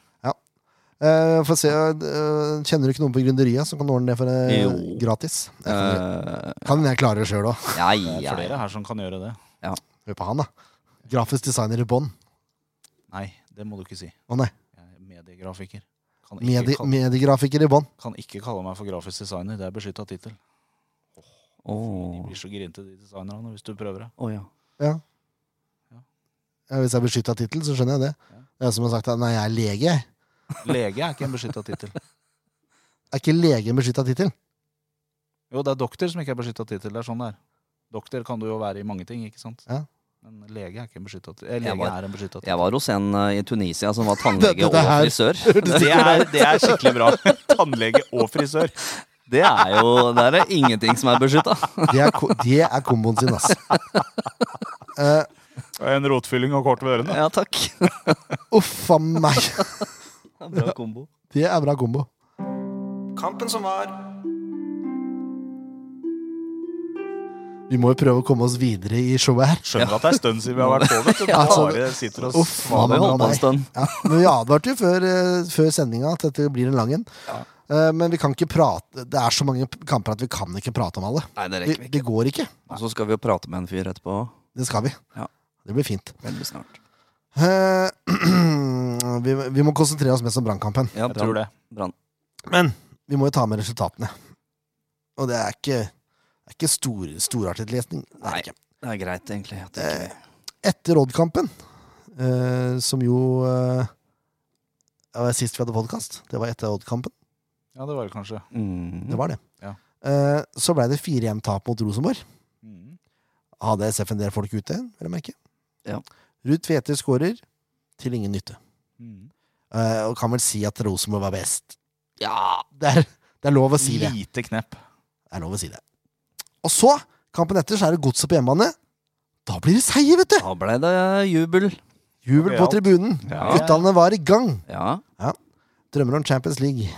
Eh, Få se, eh, Kjenner du ikke noen på gründeriet som kan ordne det for eh, Jo. gratis? Det kan Eh, jeg- Uh, Kan jeg klare det sjøl òg. ja, Det er ja. flere her som kan gjøre det. Hør på han, da. Grafisk designer i bånn. Nei, det må du ikke si. Å nei. Jeg er mediegrafiker. Kan ikke, Medi kalle, mediegrafiker i bånn. kan ikke kalle meg for grafisk designer. Det er beskytta tittel. De Åh, blir så grinte, de designerne, hvis du prøver det. åh, ja. Ja, Eh, hvis jeg er beskytta tittel, så skjønner jeg det. Det er jeg som har sagt at nei, jeg er lege. jeg. Lege er ikke en beskytta tittel. Er ikke lege en beskytta tittel? Jo, det er doktor som ikke er beskytta tittel. Det er sånn det er. Doktor kan du jo være i mange ting, ikke sant? Ja. Men lege er ikke en beskytta tittel. Eh, Jeg Lege var- er en beskytta tittel. Jeg var hos en eh, i Tunisia som var tannlege Dette og her- frisør. Det er, det er skikkelig bra. Tannlege og frisør. Det er jo Der er ingenting som er beskytta. Det er, ko- det er komboen sin, ass. Uh, En rotfylling og kort ved ørene. Ja, takk. Uff a meg. Bra kombo. Det er bra kombo. Kampen som var. Vi må jo prøve å komme oss videre i showet her. Skjønner at det er stund siden vi har vært på, vet du. Ja, altså, Bare sitter og Uff a Må vi holde på en meg. stund. Ja, men vi advarte jo før, eh, før sendinga at dette blir en lang en. Eh, men vi kan ikke prate Det er så mange p- kamper at vi kan ikke prate om alle. Nei, det Vi, rekker vi ikke. det går ikke. Og så skal vi jo prate med en fyr etterpå. Det skal vi. Ja. Det blir fint. Veldig snart. Eh, vi, vi må konsentrere oss mest om brannkampen. Ja, Jeg tror brann. det. brann. Men vi må jo ta med resultatene. Og det er ikke Det er ikke stor, storartet lesning. Det er Nei. det ikke. Det er greit, egentlig. At det ikke... Etter Odd-kampen, eh, som jo eh, det var Sist vi hadde podkast, det var etter Odd-kampen. Ja, det var det kanskje. Mm. Det var det. Ja. Eh, så ble det 4-1-tap mot Rosenborg. Mm. Hadde SF en del folk ute, vil jeg merke. Ja. Ruud Tvedte skårer til ingen nytte. Mm. Eh, og kan vel si at Rosenborg var best. Ja, det er, det er lov å si det. Lite knepp. Det er lov å si det. Og så, kampen etter, så er det godset på hjemmebane. Da blir det seier, vet du! Da ble det jubel. Jubel på Gøyalt. tribunen. Ja. Guttene var i gang. Ja. Drømmer om Champions League.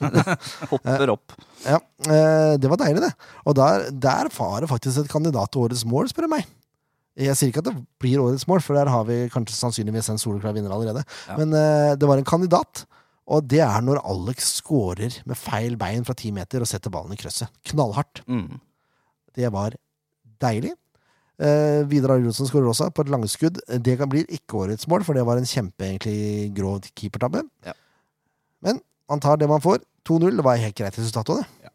Hopper opp. Ja, eh, Det var deilig, det. Og der, der var det faktisk et kandidat til årets mål, spør du meg. Jeg sier ikke at det blir årets mål, for der har vi kanskje sannsynligvis en soleklar vinner allerede. Ja. Men eh, det var en kandidat, og det er når Alex scorer med feil bein fra ti meter og setter ballen i krysset. Knallhardt. Mm. Det var deilig. Eh, Vidar Arild Johnsen skårer også på et langskudd. Det kan bli ikke årets mål, for det var en kjempe egentlig grov keepertabbe. Ja. Men man tar det man får. 2-0 var helt greit resultat òg, det.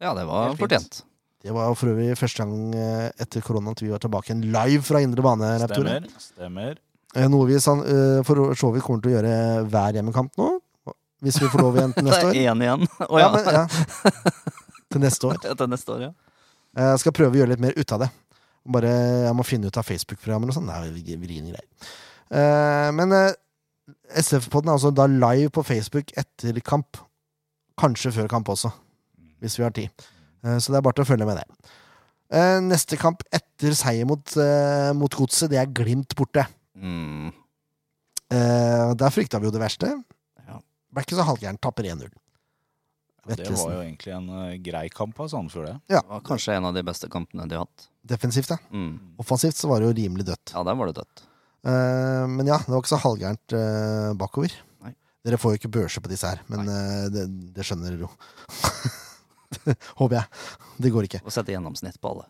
Ja, det var Helt fint. fortjent. Det var jo for øvrig første gang eh, etter koronaen at vi var tilbake igjen live fra indre bane. Leif Tore. Stemmer. Stemmer. Eh, Noe vi san- eh, for så vidt kommer til å gjøre hver hjemmekamp nå. Hvis vi får lov igjen til Det neste er år. én igjen. Å ja. men- ja. Til neste år. Til neste år, ja. Eh, Jeg skal prøve å gjøre litt mer ut av det. Bare Jeg må finne ut av Facebook-programmer og sånn. Det er jo vriene greier. Eh, Men SF-podden er altså da live på Facebook etter kamp. Kanskje før kamp også, hvis vi har tid. Eh, Så det er bare til å følge med det. Eh, Neste kamp etter seier mot, eh, mot Godset, det er Glimt borte. Mm. Eh, Der frykta vi jo det verste. Ja. Ble ikke så halvgærent, tapper 1-0. Det var jo egentlig en eh, grei kamp av Sandefjord, det. Ja, Det var kanskje en av de beste kampene de har hatt. defensivt, ja. Mm. Offensivt så var det jo rimelig dødt. Ja, der var det dødt. Eh, men ja, det var ikke så halvgærent eh, bakover. Nei. Dere får jo ikke børse på disse her, men eh, det, det skjønner dere jo. Det Håper jeg. Det går ikke. Å sette gjennomsnitt på alle.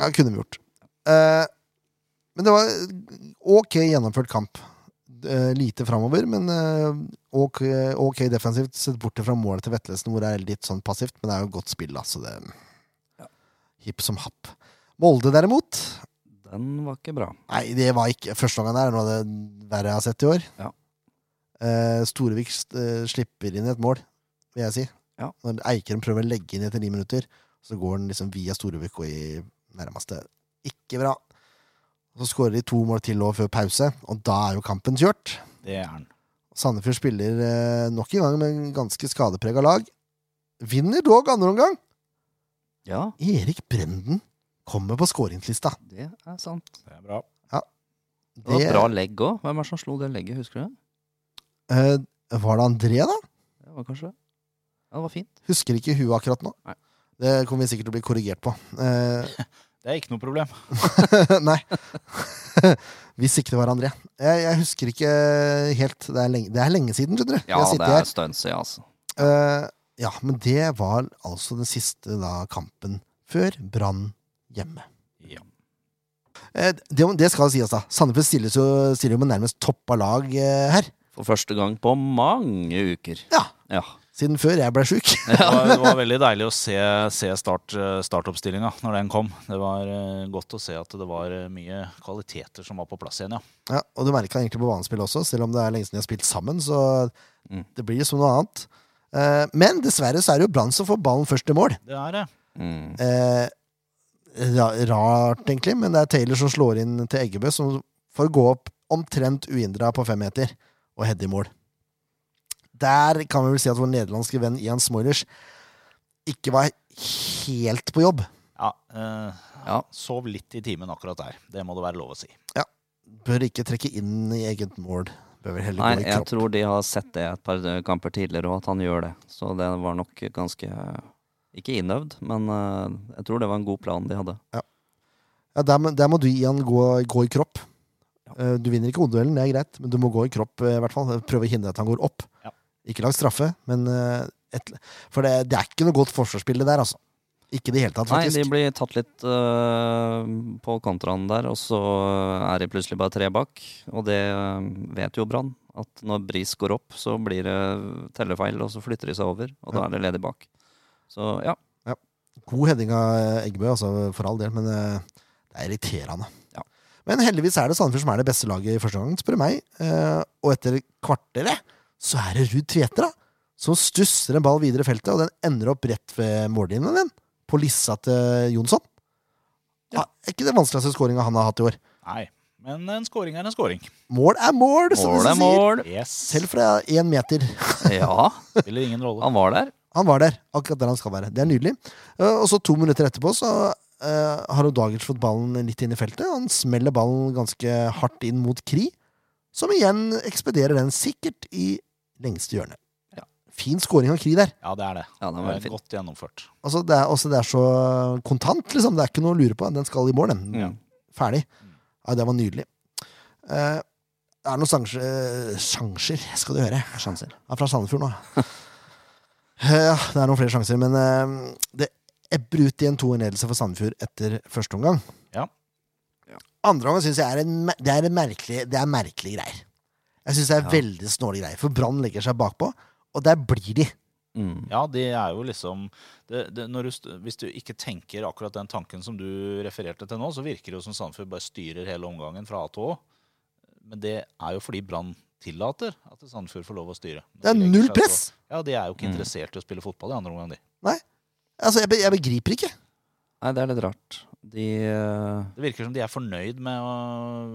Ja, det kunne vi gjort. Eh, men det var eh, ok gjennomført kamp. Eh, lite framover, men eh, ok, ok defensivt. Sett bort fra målet til Vetlesen, hvor det er litt sånn passivt, men det er jo godt spill, da, så det Ja. Hipp som happ. Molde, derimot, Den var ikke bra. Nei, det var ikke Første gangen der er noe av det verre jeg har sett i år. Ja. Eh, Storevik eh, slipper inn et mål, vil jeg si. Ja. Når Eikrem prøver å legge inn etter ni minutter, så går han liksom via Storevik og i nærmeste Ikke bra. Så skårer de to mål til og før pause, og da er jo kampen kjørt. Det er den. Sandefjord spiller eh, nok en gang med en ganske skadeprega lag. Vinner dog andre omgang. Ja, Erik Brenden kommer på skåringslista. det er sant. Det er bra. Det, Det var bra legg òg. Hvem er det som slo det legget, husker du det? eh, var det André, da? Det var kanskje det. Ja, det var fint. Husker ikke i huet akkurat nå. Nei. Det kommer vi sikkert til å bli korrigert på. Eh, Det er ikke noe problem. nei. Hvis ikke det var André. Jeg, jeg husker ikke helt. Det er lenge, det er lenge siden, skjønner du. Ja, jeg sitter det er en stund siden, altså. her. Eh, ja, men det var altså den siste da, kampen før Brann hjemme. Ja. Eh, det, det skal sies, da. Sandefjord stilles jo- stiller jo med nærmest toppa lag eh, her. For første gang på mange uker. Ja. Ja. Siden før jeg ble sjuk. Det var, det var veldig deilig å se, se start, eh, startoppstillinga når den kom. Det var eh, godt å se at det var eh, mye kvaliteter som var på plass igjen, ja. Ja, og du merka egentlig på banespill også, selv om det er lenge siden de har spilt sammen. Så Mm. det blir jo som noe annet. Eh, men dessverre så er det jo Brann som får ballen først i mål. Det er det. Mm. Eh, ra- rart, egentlig, men det er Taylor som slår inn til Eggebø, som får gå opp omtrent uhindra på femmeter og heade i mål. Der kan vi vel si at vår nederlandske venn Ian Smoilers ikke var helt på jobb. Ja, eh, Ja. Sov litt i timen akkurat der. Det må det være lov å si. Bør ikke trekke inn i eget mål. Bør vel heller Nei, gå i jeg kropp. tror de har sett det et par eh, kamper tidligere, og at han gjør det. Så det var nok ganske eh, Ikke innøvd, men eh, jeg tror det var en god plan de hadde. Ja, der, må- der må du, Ian, gå, gå i kropp. Eh, Du vinner ikke hodeduellen, det er greit, men du må gå i kropp. eh, i hvert fall. Prøve å hindre at han går opp. Ja. Ikke lag straffe, men eh, et, For det, det er ikke noe godt forsvarsspill, det der, altså. Ikke i det hele tatt, Nei, de faktisk. blir tatt litt eh, på kontraen der, og så eh, er de plutselig bare tre bak. Og det eh, vet jo Brann, at når Bris går opp, så blir det tellefeil, og så flytter de seg over, og da er det ledig bak. Så ja, God heading av Eggebø, altså, for all del, men eh, det er irriterende. Ja. Men heldigvis er det Sandefjord som er det beste laget i første gang, spør du meg. Eh, og etter kvarteret så er det Ruud Tveter, da, som stusser en ball videre i feltet, og den ender opp rett ved mållinjen din, på lissa til Jonsson. Ja. Er ikke det vanskeligste skåringa han har hatt i år? Nei, men en scoring er en scoring. Mål er mål, som de Mål er sier. mål! Yes. Selv fra én meter. Ja, Spiller ingen rolle. han var der. Han var der, akkurat der han skal være. Det er nydelig. Eh, Og så to minutter etterpå så eh, har Odagers fått ballen litt inn i feltet. Han smeller ballen ganske hardt inn mot Kri, som igjen ekspederer den sikkert i lengste hjørne. Ja. Fin scoring av Kri der. Ja, det er det. Ja, den var det veldig er fin. godt gjennomført. Altså, det, er, også, det er så kontant, liksom. Det er ikke noe å lure på. Den skal i mål, den. Mm. Ferdig. Ja, det var nydelig. Eh, det er noen sjanser, eh, sjanser skal du høre. Sjanser. Jeg er fra Sandefjord nå. Eh, Ja, det er noen flere sjanser, men eh, det ebber ut i en 2-1-ledelse for Sandefjord etter første omgang. Ja. Ja. Andre omgang syns jeg er en, mer- det er en merkelig, det er merkelige greier. Jeg syns det er veldig snålige greier, for Brann legger seg bakpå, og der blir de. Mm. Ja, det er jo liksom det, det, når du, st- Hvis du ikke tenker akkurat den tanken som du refererte til nå, så virker det jo som Sandefjord bare styrer hele omgangen fra A til Å. Men det er jo fordi Brann tillater at Sandefjord får lov å styre. Når Det er de legger null seg press! så- Ja, De er jo ikke Mm. interessert i å spille fotball i andre omgang, de. Altså, jeg, be, jeg begriper ikke. Nei, det er litt rart. De eh, Det virker som de er fornøyd med å,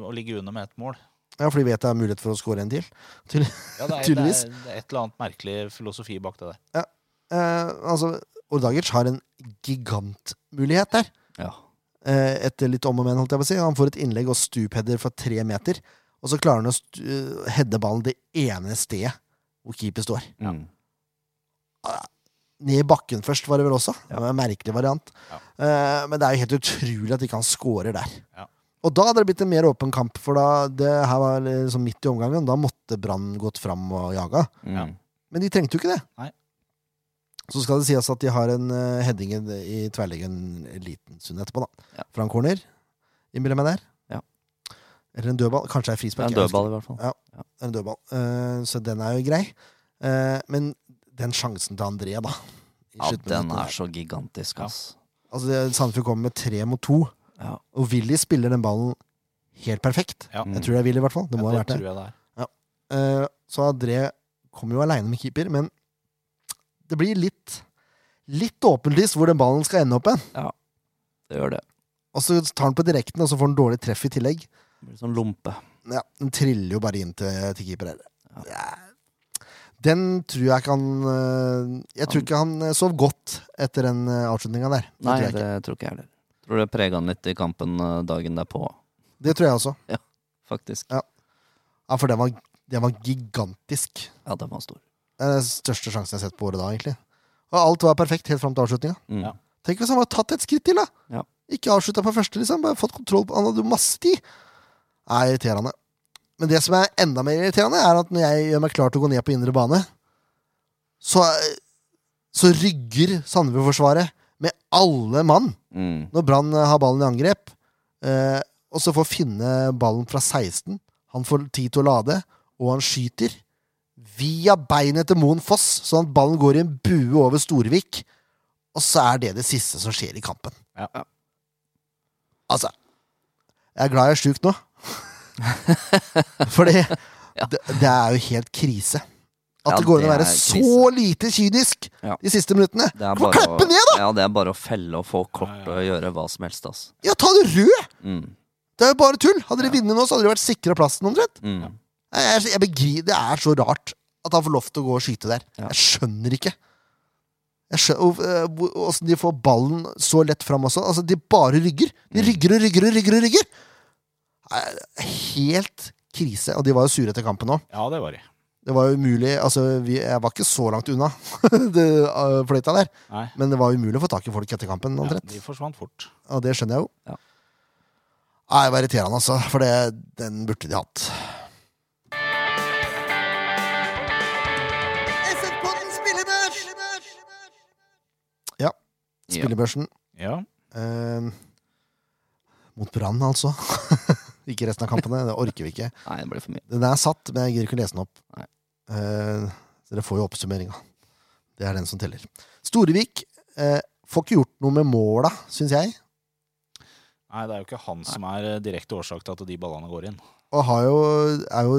å ligge under med ett mål. Ja, for de vet det er mulighet for å score en til. Ja, det, er, det, Tydeligvis. er, det er et eller annet merkelig filosofi bak det der. Eh, altså, Ordagic har en gigantmulighet der. Ja. eh, etter litt om og men, holdt jeg på å si. Han får et innlegg og stupheader fra tre meter, og så klarer han å stu- eh, heade ballen det ene stedet hvor keeper står. Ah, Mm. Ned i bakken først, var det vel også. Ja. Det var en merkelig variant. Ja. Eh, men det er jo helt utrolig at ikke han scorer der. Ja. Og da hadde det blitt en mer åpen kamp, for da det her var liksom midt i omgangen. Da måtte Brann gått fram og jaga. Mm. Ja. Men de trengte jo ikke det. Nei. Så skal det sies at de har en eh, heading i tverrleggen en liten stund etterpå, da. Ja. Fra en corner, innbiller jeg meg der. Ja. Eller en dødball. Kanskje det er Det er frispark. en jeg husker dødball, i hvert fall. ikke. En dødball. Eh, så den er jo grei. Eh, men den sjansen til André, da i Ja, sluttminuttet den der. er så gigantisk, Ja. ass. Altså, det- Sandefjord kommer med tre mot to, Ja. og Willy spiller den ballen helt perfekt. Ja, Jeg tror det er Willy, i hvert fall. Det må ha Ja, vært det. tror jeg det er. Eh, Så André kommer jo aleine med keeper, men det blir litt Litt åpenlyst hvor den ballen skal ende opp hen. Det gjør det. Og så tar han på direkten, og så får han dårlig treff i tillegg. Det blir sånn lompe. Ja, Den triller jo bare inn til, til keeper her. Ja. Den tror jeg ikke han eh, Jeg tror ikke han eh, sov godt etter den avslutninga der. Det Nei, tror jeg det ikke. tror ikke jeg heller. Tror det prega han litt i kampen eh, dagen derpå, Det tror jeg også. faktisk. Ja, For den var, den var gigantisk. Ja, den var stor. Det er den største sjansen jeg har sett på året da, egentlig. Og alt var perfekt helt fram til avslutninga. Mm. Ja. Tenk hvis han hadde tatt et skritt til, da! Ja. Ikke avslutta på første, liksom. Bare fått kontroll på Han hadde jo masse tid. Det er irriterende. Men det som er enda mer irriterende, er at når jeg gjør meg klar til å gå ned på indre bane, så, så rygger Sandefjord-forsvaret med alle mann Mm. når Brann eh, har ballen i angrep. Eh, og så får Finne ballen fra 16. Han får tid til å lade, og han skyter via beinet til Moen Foss, sånn at ballen går i en bue over Storvik. Og så er det det siste som skjer i kampen. Ja. Ja. Altså Jeg er glad jeg er sjuk nå. Fordi det, det er jo helt krise. At Ja, det går an å det være er så lite kynisk Ja. de siste minuttene. Det er Få klappe ned, da! Ja, det er bare å felle og få kort og gjøre hva som helst, ass. Ja, ta det røde! Mm. Det er jo bare tull! Hadde de vunnet nå, så hadde de vært sikra plassen, omtrent. Mm. Nei, Jeg, jeg begriper, Det er så rart at han får lov til å gå og skyte der. Ja. Jeg skjønner ikke. Jeg skjønner, og, eh, hvor- Åssen de får ballen så lett fram også. Altså, De bare rygger. De rygger og rygger og rygger. og rygger Nei, Helt krise. Og de var jo sure etter kampen òg. Ja, det var de. Det var jo umulig altså, vi, Jeg var ikke så langt unna det, eh, fløyta der. Nei. Men det var umulig å få tak i folk etter kampen, Ja, omtrent. de forsvant fort. Og det skjønner jeg jo. Ja. Nei, det var irriterende, altså. For det, den burde de hatt. Ja. Ja. Spillebørsen. Ja. Eh, mot Brann, altså. ikke resten av kampene. Det orker vi ikke. Nei, det blir for mye. Den er satt, men jeg gidder ikke lese den opp. Ehm, Nei. Eh, så dere får jo oppsummeringa. Det er den som teller. Storevik eh, Får ikke gjort noe med måla, syns jeg. Nei, det er jo ikke han som er eh, direkte årsak til at de ballene går inn. Og har jo, er jo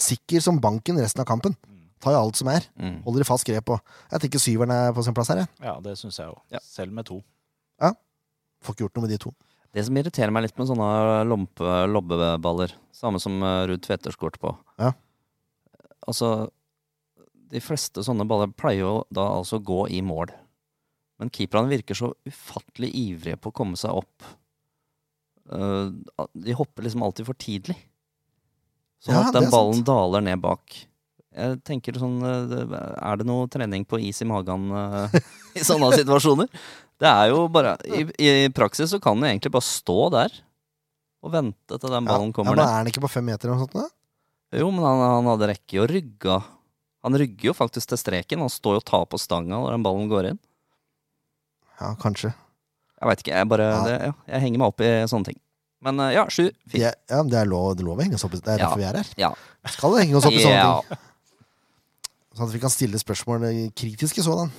sikker som banken resten av kampen. Tar jo alt som er. Mm. Holder i fast grep. Og jeg tenker syveren er på sin plass her. Jeg. Ja, det syns jeg jo. Ja. Selv med to. Får ikke gjort noe med de to. Det som irriterer meg litt med sånne lompe, lobbeballer, samme som eh, Ruud Tvedter skåret på Ja. Altså, de fleste sånne baller pleier jo da altså å gå i mål. Men keeperne virker så ufattelig ivrige på å komme seg opp. Eh, De hopper liksom alltid for tidlig. Sånn Ja, at det den er ballen sant. daler ned bak. Jeg tenker sånn eh, det- Er det noe trening på is i magen eh, i sånne situasjoner? Det er jo bare I, i praksis så kan den egentlig bare stå der og vente til den ballen ja, kommer men ned. er han ikke på fem meter eller noe sånt? da? Jo, men han, han hadde rekke og rygga. Han rygger jo faktisk til streken. Han står jo og tar på stanga når den ballen går inn. Ja, kanskje. Jeg veit ikke, jeg bare Ja. det, ja, Jeg henger meg opp i sånne ting. Men eh, ja, sju. Fint. Det er, ja, men det er lov, det er lov å henge oss opp i Det er Ja. derfor vi er her. Ja. Vi Skal henge oss opp i sånne Ja. ting. Sånn at vi kan stille spørsmål eh, kritiske sådan.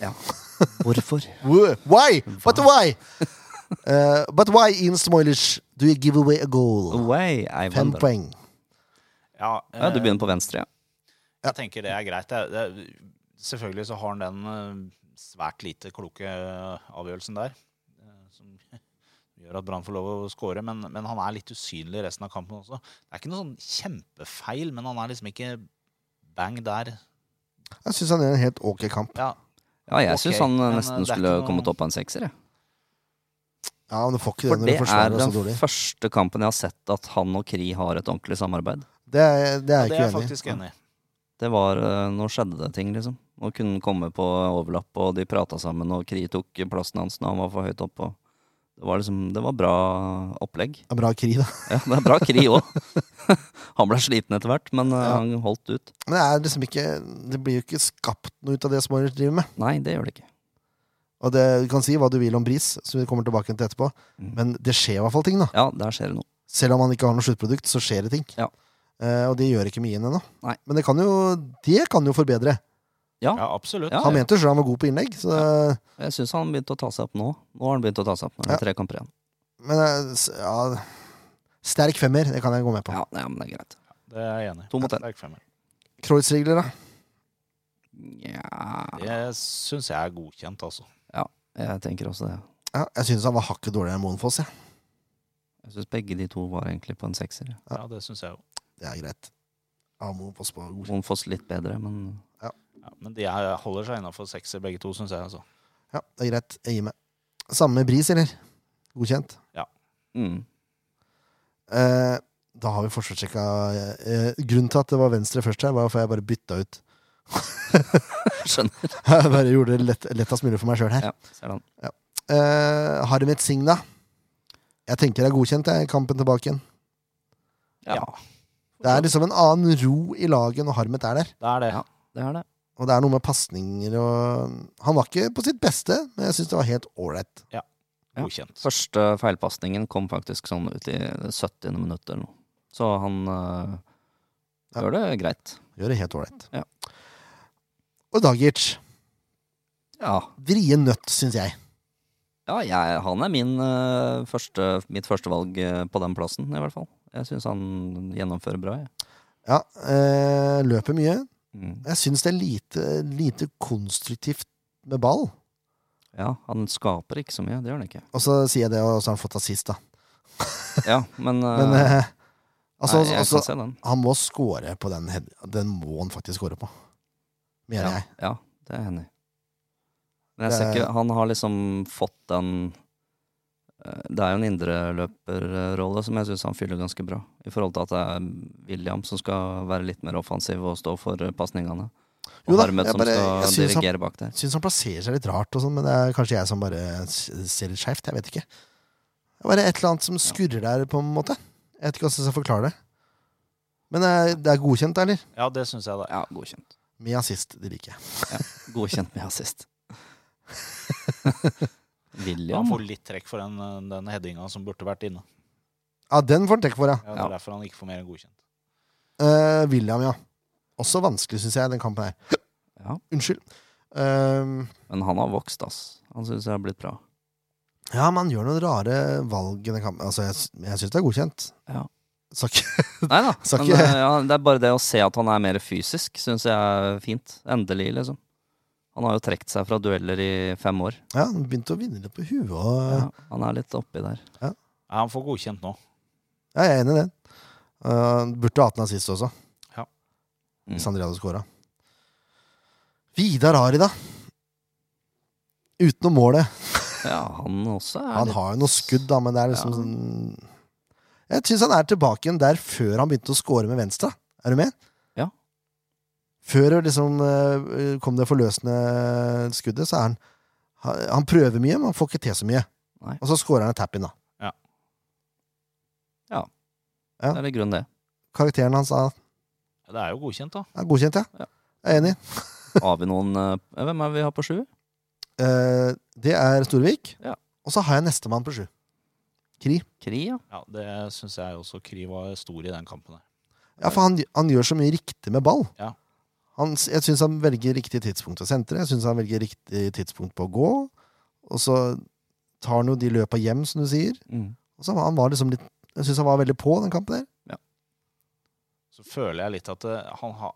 Hvorfor? Wh- Why? But why? Eh, but why, Ian Smoilish, do you give away a goal? Away, I Fem wonder. poeng. Ja, Ja, du eh, begynner på venstre, ja. Jeg tenker det er greit. Det er, det er, selvfølgelig så har han den eh, svært lite kloke eh, avgjørelsen der, eh, som gjør at Brann får lov å skåre, men, men han er litt usynlig i resten av kampen også. Det er ikke noe sånn kjempefeil, men han er liksom ikke bang der. Jeg syns han gjør en helt ok kamp. Ja, Ja, jeg Ok, syns han eh, men, eh, det nesten er ikke skulle noe- kommet opp på en sekser, jeg. Ja, men du får ikke det For når det du er forsvarer deg så den dårlig. første kampen jeg har sett at han og Kri har et ordentlig samarbeid. Det er, det er det jeg er jeg ikke uenig i. faktisk enig i. Det var eh, Nå skjedde det ting, liksom. Nå kunne han komme på overlapp, og de prata sammen, og Kri tok plassen hans når han var for høyt oppe. og Det var liksom Det var bra opplegg. Det er Bra kri, da. Ja, det er bra Kri òg. han ble sliten etter hvert, men eh, Ja. han holdt ut. Men det er liksom ikke Det blir jo ikke skapt noe ut av det Smoilish driver med. Nei, det gjør det ikke. Og det, Du kan si hva du vil om Bris, som vi kommer tilbake til etterpå, Mm. men det skjer i hvert fall ting, da. Ja, der skjer det noe. Selv om han ikke har noe sluttprodukt, så skjer det ting. Ja. Eh, og det gjør ikke mye inn ennå. Nei. Men det kan jo, det kan jo forbedre. Ja, absolutt. Ja, Han ja. mente jo sjøl han var god på innlegg, så Jeg syns han begynte å ta seg opp nå. Nå har han begynt å ta seg opp. Nå er det tre kamper igjen. Men eh, s- ja Sterk femmer, det kan jeg gå med på. Ja, ja, men det er greit. Det er jeg enig i. To mot en. Det er ikke femmer. Kreuzregler, da? Nja Det syns jeg er godkjent, altså. Jeg tenker også det. Ja, jeg syns han var hakket dårligere enn Moenfoss. Ja. Jeg syns begge de to var egentlig på en sekser. ja. Ja, det synes jeg jo. Det er greit. Ja, Moenfoss på god. Monfoss litt bedre, men Ja, men de er, holder seg innafor sekser, begge to, syns jeg. altså. Ja, det er greit. Jeg gir meg. Samme med Bris, eller? Godkjent. mm. Eh, da har vi forsvarssjekka eh, Grunnen til at det var venstre først her, var for jeg bare bytta ut. Skjønner. Jeg bare gjorde det lett, lettest mulig for meg sjøl her. Ja, ser den. Eh, Harmet Singh, da? Jeg tenker det er godkjent, jeg. Kampen tilbake igjen. Ja, Det er liksom en annen ro i laget når Harmet er der. Det er det. Ja. det er det. Og det er noe med pasninger og Han var ikke på sitt beste, men jeg syns det var helt ålreit. Ja. Godkjent. Første feilpasningen kom faktisk sånn ut i det 70. minutt eller noe. Så han øh, Ja. gjør det greit. Gjør det helt ålreit. Ja. Og Dagic. Ja, Vrien nøtt, syns jeg. ja jeg, han er min, øh, første, mitt førstevalg øh, på den plassen, i hvert fall. Jeg syns han gjennomfører bra. Jeg. Ja, eh, løper mye. Mm. Jeg syns det er lite, lite konstruktivt med ball. Ja, han skaper ikke så mye, det gjør han ikke. Og så sier jeg det, og så har han fått assist, da. Ja, men, øh, Men eh, altså, nei, jeg altså kan se den. Han må score på den. head- Den må han faktisk score på. Mener ja, jeg. Ja, det er jeg enig i. Men jeg Det ser er- ikke Han har liksom fått den eh, Det er jo en indreløperrolle som jeg syns han fyller ganske bra. I forhold til at det er William som skal være litt mer offensiv og stå for eh, pasningene. Jo Og da, Harmet jeg som bare- jeg skal synes han- dirigere bak der. Syns han plasserer seg litt rart, og sånn, men det er kanskje jeg som bare s- ser litt skjevt. Jeg vet ikke. Det er bare et eller annet som skurrer der, på en måte. Jeg vet ikke hvordan jeg skal forklare det. Men eh, det er godkjent, eller? Ja, det syns jeg, da. Ja, godkjent. Med assist, det liker jeg. Godkjent med assist. Han William? får litt trekk for den, eh, den headinga som burde vært inne. Ja, den får han trekk for, ja. Ja, det Ja. er derfor han ikke får mer enn godkjent. Eh, William, ja. Også vanskelig, syns jeg, den kampen her. Ja. Unnskyld. Ehm, Men han har vokst, ass. Han syns jeg har blitt bra. ja, man gjør noen rare valg i den kampen. Altså, jeg, jeg syns det er godkjent. Ja. Så ikke- Nei da. Sa Men ikke- eh, ja, det er bare det å se at han er mer fysisk, syns jeg er fint. Endelig, liksom. Han har jo trukket seg fra dueller i fem år. ja, han begynte å vinne litt på huet. Og, Ja, han er litt oppi der. Ja, han får godkjent nå. Ja, jeg er enig i det. Uh, burde hatt den sist også, Mm. hvis André hadde skåra. Vidar Ari, da. Utenom målet. Ja, han også er Han litt har jo noe skudd, da, men det er liksom Ja. sånn Jeg syns han er tilbake igjen der før han begynte å score med venstre. Er du med? Ja. Før det liksom eh, kom det forløsende skuddet, så er han han- Han prøver mye, men han får ikke til så mye. Nei. Og så scorer han et tap-in, da. ja. Det er i grunnen det. Karakteren hans er Ja, Det er jo godkjent, da. er godkjent, Ja. ja. Jeg er enig. Har vi noen eh, Hvem er det vi har på sju? Eh, det er Storvik. Ja. Og så har jeg nestemann på sju. Kri. Kri, ja. Ja, Det syns jeg også Kri var stor i den kampen. der. Ja, for han, han gjør så mye riktig med ball. Ja. Han, s- jeg syns han velger riktig tidspunkt å sentre. Jeg syns han velger riktig tidspunkt på å gå. Og så tar han jo de løpa hjem, som du sier. Mm. Og så var han var liksom litt Jeg syns han var veldig på den kampen der. Så føler jeg litt at eh, han har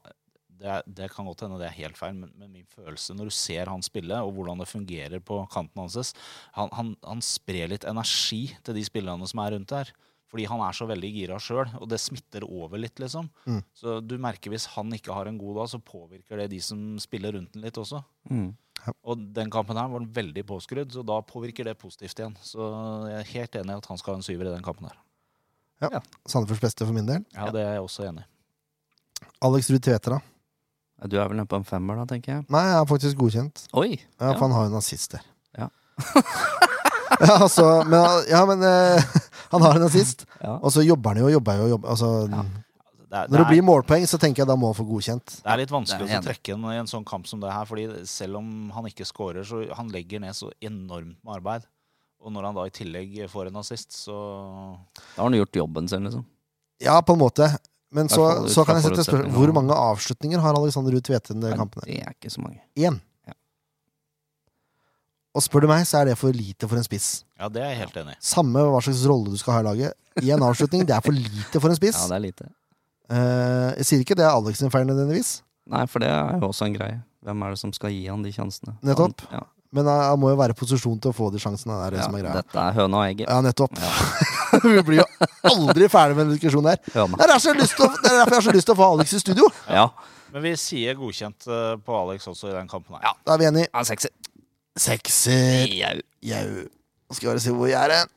det, er- det kan godt hende det er helt feil, men, men min følelse når du ser han spille, og hvordan det fungerer på kanten hans han, han, han sprer litt energi til de spillerne som er rundt der. Fordi han er så veldig gira sjøl, og det smitter over litt, liksom. Mm. Så du merker hvis han ikke har en god dag, så påvirker det de som spiller rundt den litt også. Mm. Og den kampen her var den veldig påskrudd, så da påvirker det positivt igjen. Så jeg er helt enig i at han skal ha en syver i den kampen her. Sandefjords beste for min del. Ja, det er jeg også enig i. Alex Ruud Tveter, da. Du er vel nede på en femmer, da, tenker jeg. Nei, jeg er faktisk godkjent. Oi! Ja, Ja. for han har jo en nazist der. Ja. ja, altså, men, ja, men eh, han har en nazist, Ja. og så jobber han jo og jobber jo. og Jobber, altså, Ja. Det er, Når det, det er, blir målpoeng, så tenker jeg da må han få godkjent. det er litt Det vanskelig er jeg å trekke inn i en sånn kamp som det her, fordi selv om han ikke scorer, så han legger ned så enormt med arbeid. Og når han da i tillegg får en assist, så Da har han gjort jobben sin, liksom. Ja, på en måte. Men så, I hvert fall ut så kan jeg fra sette spørsmål Hvor forutsetningene. mange avslutninger har Alexander Ruud Tvedte i de Nei, kampene? Det er ikke så mange. Én. Ja. Og spør du meg, så er det for lite for en spiss. Ja, det er jeg helt enig i. Samme hva slags rolle du skal ha i laget. Én avslutning, det er for lite for en spiss. Ja, det er lite. Eh, jeg sier ikke det er Alex sin feil nødvendigvis, Nei, for det er jo også en greie. Hvem er det som skal gi han de sjansene? Nettopp. Han, ja. men han han må jo være i posisjon til å få de sjansene. Det er det ja, som er greia. dette er høna og egget. Ja, nettopp. Vi blir jo aldri ferdig med den diskusjonen der. Høna. Det er, så lyst til å, det er derfor jeg har så lyst til å få Alex i studio. Ja. Men vi sier godkjent eh, på Alex også i den kampen her. Ja. Da er vi enige. ja sexy. Sekser. Jau. Jau. Nå Skal jeg bare se hvor jeg er hen.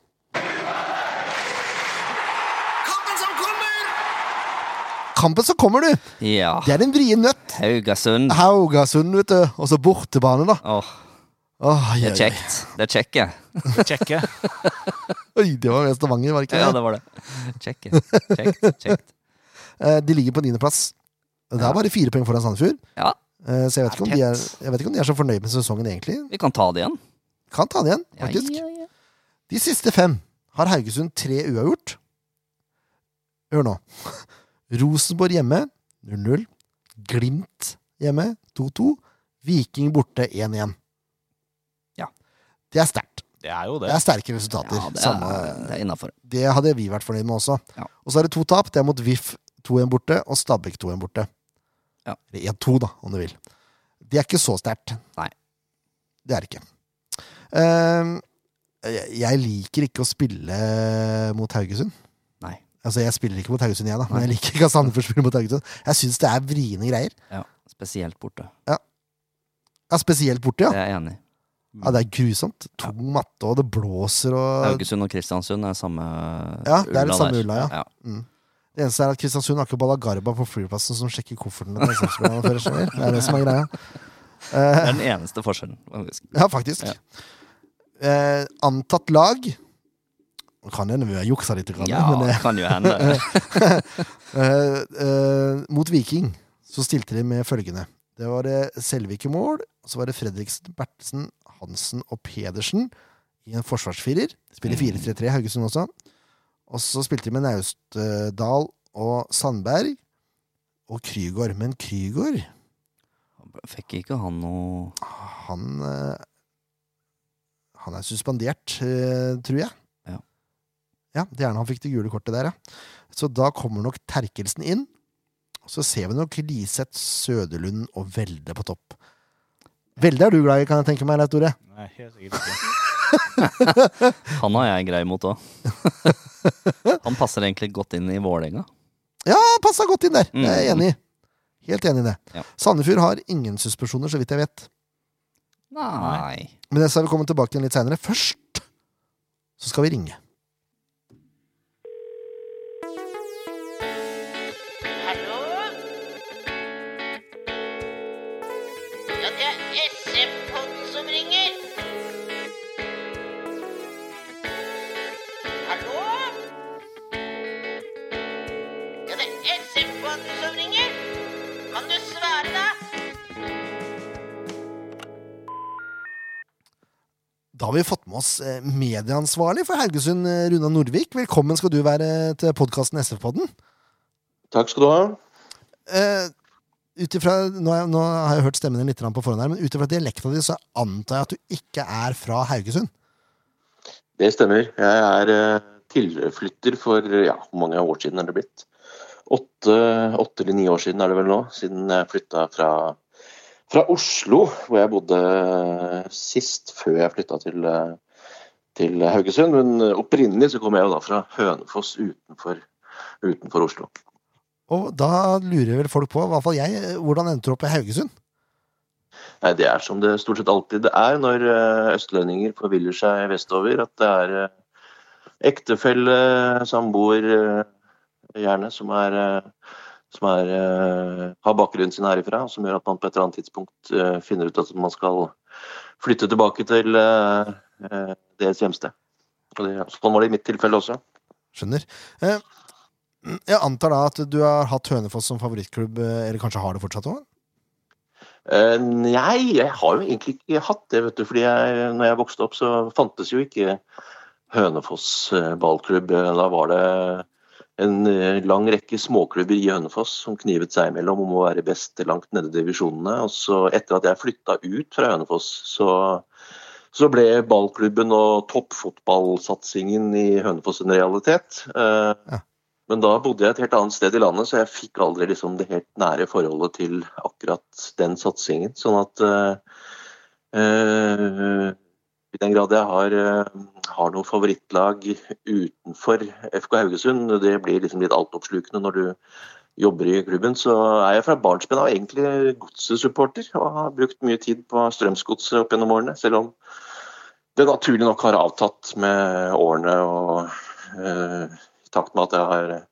Kampen som kommer! Kampen, så kommer du! Ja. Det er en vrien nøtt. Haugasund. Haugasund, vet du. Og så bortebane, da. Åh, Åh, det jau. er kjekt. Det er kjekke. Kjekke. Oi, det var med Stavanger, var det ikke? Ja, det? det var det. Kjekke. Kjekt. Kjekt. Eh, De ligger på niendeplass. Det er bare fire poeng foran Sandefjord. Ja, Eh, Så jeg vet, ikke Det er om de er, tett. jeg vet ikke om de er så fornøyd med sesongen, egentlig. vi kan ta det igjen. Kan ta det igjen, Ja, faktisk. ja, ja. De siste fem har Haugesund tre uavgjort. Hør nå. Rosenborg hjemme 0-0. Glimt hjemme 2-2. Viking borte 1-1. Ja. Det er sterkt. Det er jo Det det. er sterke resultater. Ja, det Samme, er, det er innafor. det hadde vi vært fornøyd med også. Ja. Og så er det to tap. Det er mot VIF 2-1 borte og Stabæk 2-1 borte. Ja. Eller 1-2, da, om du vil. Det er ikke så sterkt. Nei. Det er det ikke. Ehm, jeg jeg liker ikke å spille mot Haugesund. Nei. Altså, jeg spiller ikke mot Haugesund, jeg, da. Men Nei. jeg liker ikke at Sandefjord spiller mot Haugesund. Jeg syns det er vriene greier. Ja, spesielt borte. Ja, spesielt borte, Det ja. er jeg enig i. ja. Det er grusomt. Tung matte, og det blåser, og Haugesund og Kristiansund er samme Ja, det er ulla det samme der. ulla, ja. Det eneste er at Kristiansund har ikke Balagarba på flyplassen som sjekker koffertene til SF-spillerne før. skjønner du? Det er det som er greia. Det Eh, er den eneste forskjellen. faktisk. ja, faktisk. Ja. Eh, antatt lag Kan hende vi har juksa litt, grann, Ja, men eh, kan jo hende. eh, eh, Mot Viking så stilte de med følgende. Det var eh, Selvik i mål, så var det Fredriksen, Bertelsen, Hansen og Pedersen i en forsvarsfirer. Mm. Spiller 4-3-3 i Haugesund også. Og så spilte de med Naustdal og Sandberg og Krygård. Men Krygård Fikk ikke han noe Han eh, Han er suspendert, eh, tror jeg. Ja. Ja, det er når han fikk det gule kortet der, ja. Så da kommer nok Terkelsen inn. Og så ser vi nok Liseth, Søderlund og Velde på topp. Velde er du glad i, kan jeg tenke meg, Leif Tore. Nei, helt sikkert ikke. Han har jeg grei mot òg. Han passer egentlig godt inn i Vålerenga. Ja, han passa godt inn der. Mm. Jeg er enig. i. Helt enig i det. Ja. Sandefjord har ingen suspensjoner, så vidt jeg vet. Nei. Men det skal vi komme tilbake til litt seinere. Først så skal vi ringe. Hallo? Ja, det er SM-podden som ringer. Hallo? Ja, det er SM-podden som ringer. Kan du svare, da? Da har vi fått med oss eh, medieansvarlig for Haugesund, eh, Runa Nordvik. Velkommen skal du være til podkasten SF-podden. Takk skal du ha. Eh, ut ifra, nå, har jeg- nå har jeg hørt stemmen din litt grann på forhånd, her, men ut ifra dialekta di så antar jeg at du ikke er fra Haugesund. Det stemmer. Jeg er eh, tilflytter for ja, hvor mange år siden er det blitt? Åtte, åtte eller ni år siden er det vel nå, siden jeg flytta fra, fra Oslo, hvor jeg bodde eh, sist, før jeg flytta til, eh, til Haugesund. Men eh, opprinnelig så kom jeg jo da fra Hønefoss utenfor, utenfor Oslo. Og da lurer vel folk på, i hvert fall jeg, eh, hvordan endte du opp i Haugesund? Nei, Det er som det stort sett alltid er når eh, østlendinger forviller seg vestover, at det er eh, ektefelle, samboer, eh, gjerne, som, er, eh, som er, eh, har bakgrunnen sin herifra, som gjør at man på et eller annet tidspunkt eh, finner ut at man skal flytte tilbake til eh, eh, deres hjemsted. Og det, sånn var det i mitt tilfelle også. Skjønner. Eh, jeg antar da at du har hatt Hønefoss som favorittklubb, eh, eller kanskje har det fortsatt òg? Eh, nei, jeg har jo egentlig ikke hatt det, vet du. fordi jeg, når jeg vokste opp, så fantes jo ikke Hønefoss eh, ballklubb. Eh, Da var det en eh, lang rekke småklubber i Hønefoss som knivet seg imellom om å være best langt nede i divisjonene. Og så etter at jeg flytta ut fra Hønefoss, så, så ble ballklubben og toppfotballsatsingen i Hønefoss en realitet. Eh, Ja. men da bodde jeg et helt annet sted i landet, så jeg fikk aldri liksom det helt nære forholdet til akkurat den satsingen. Sånn at eh, eh, i den grad jeg har, eh, har noe favorittlag utenfor FK Haugesund, det blir liksom litt altoppslukende når du jobber i klubben, så er jeg fra barnsben av egentlig godsesupporter. Og har brukt mye tid på Strømsgodset opp gjennom årene, selv om det naturlig nok har avtatt med årene og eh, i takt med at jeg har eh,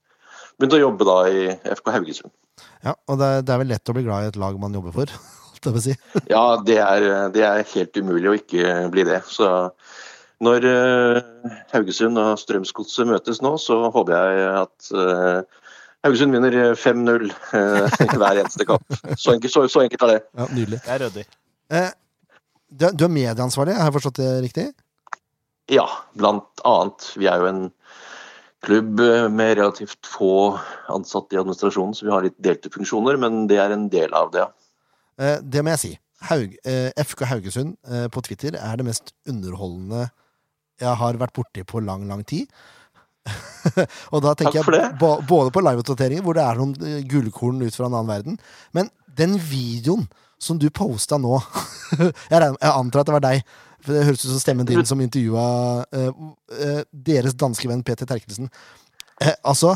begynt å jobbe da i FK Haugesund. Ja, og det, er- det er vel lett å bli glad i et lag man jobber for. holdt jeg på å si. Ja, det er, det er helt umulig å ikke bli det. Så når eh, Haugesund og Strømsgodset møtes nå, så håper jeg at eh, Haugesund vinner 5-0 eh, i hver eneste kamp. Så enkelt, så, så enkelt er det. Ja, Nydelig. Det er ryddig. Eh, du, er- du er medieansvarlig, har jeg forstått det riktig? Ja, blant annet. Vi er jo en klubb eh, med relativt få ansatte i administrasjonen, så vi har litt delte funksjoner, men det er en del av det. ja. Eh, det må jeg si. Haug, eh, FK Haugesund eh, på Twitter er det mest underholdende jeg har vært borti på lang, lang tid. og da tenker Takk for jeg det. bo- både på liveoppdateringer, hvor det er noen eh, gullkorn ut fra en annen verden, men den videoen som du posta nå jeg, regner, jeg antar at det var deg, for det høres ut som stemmen din som intervjua eh, eh, deres danske venn Peter Terkelsen. Eh, altså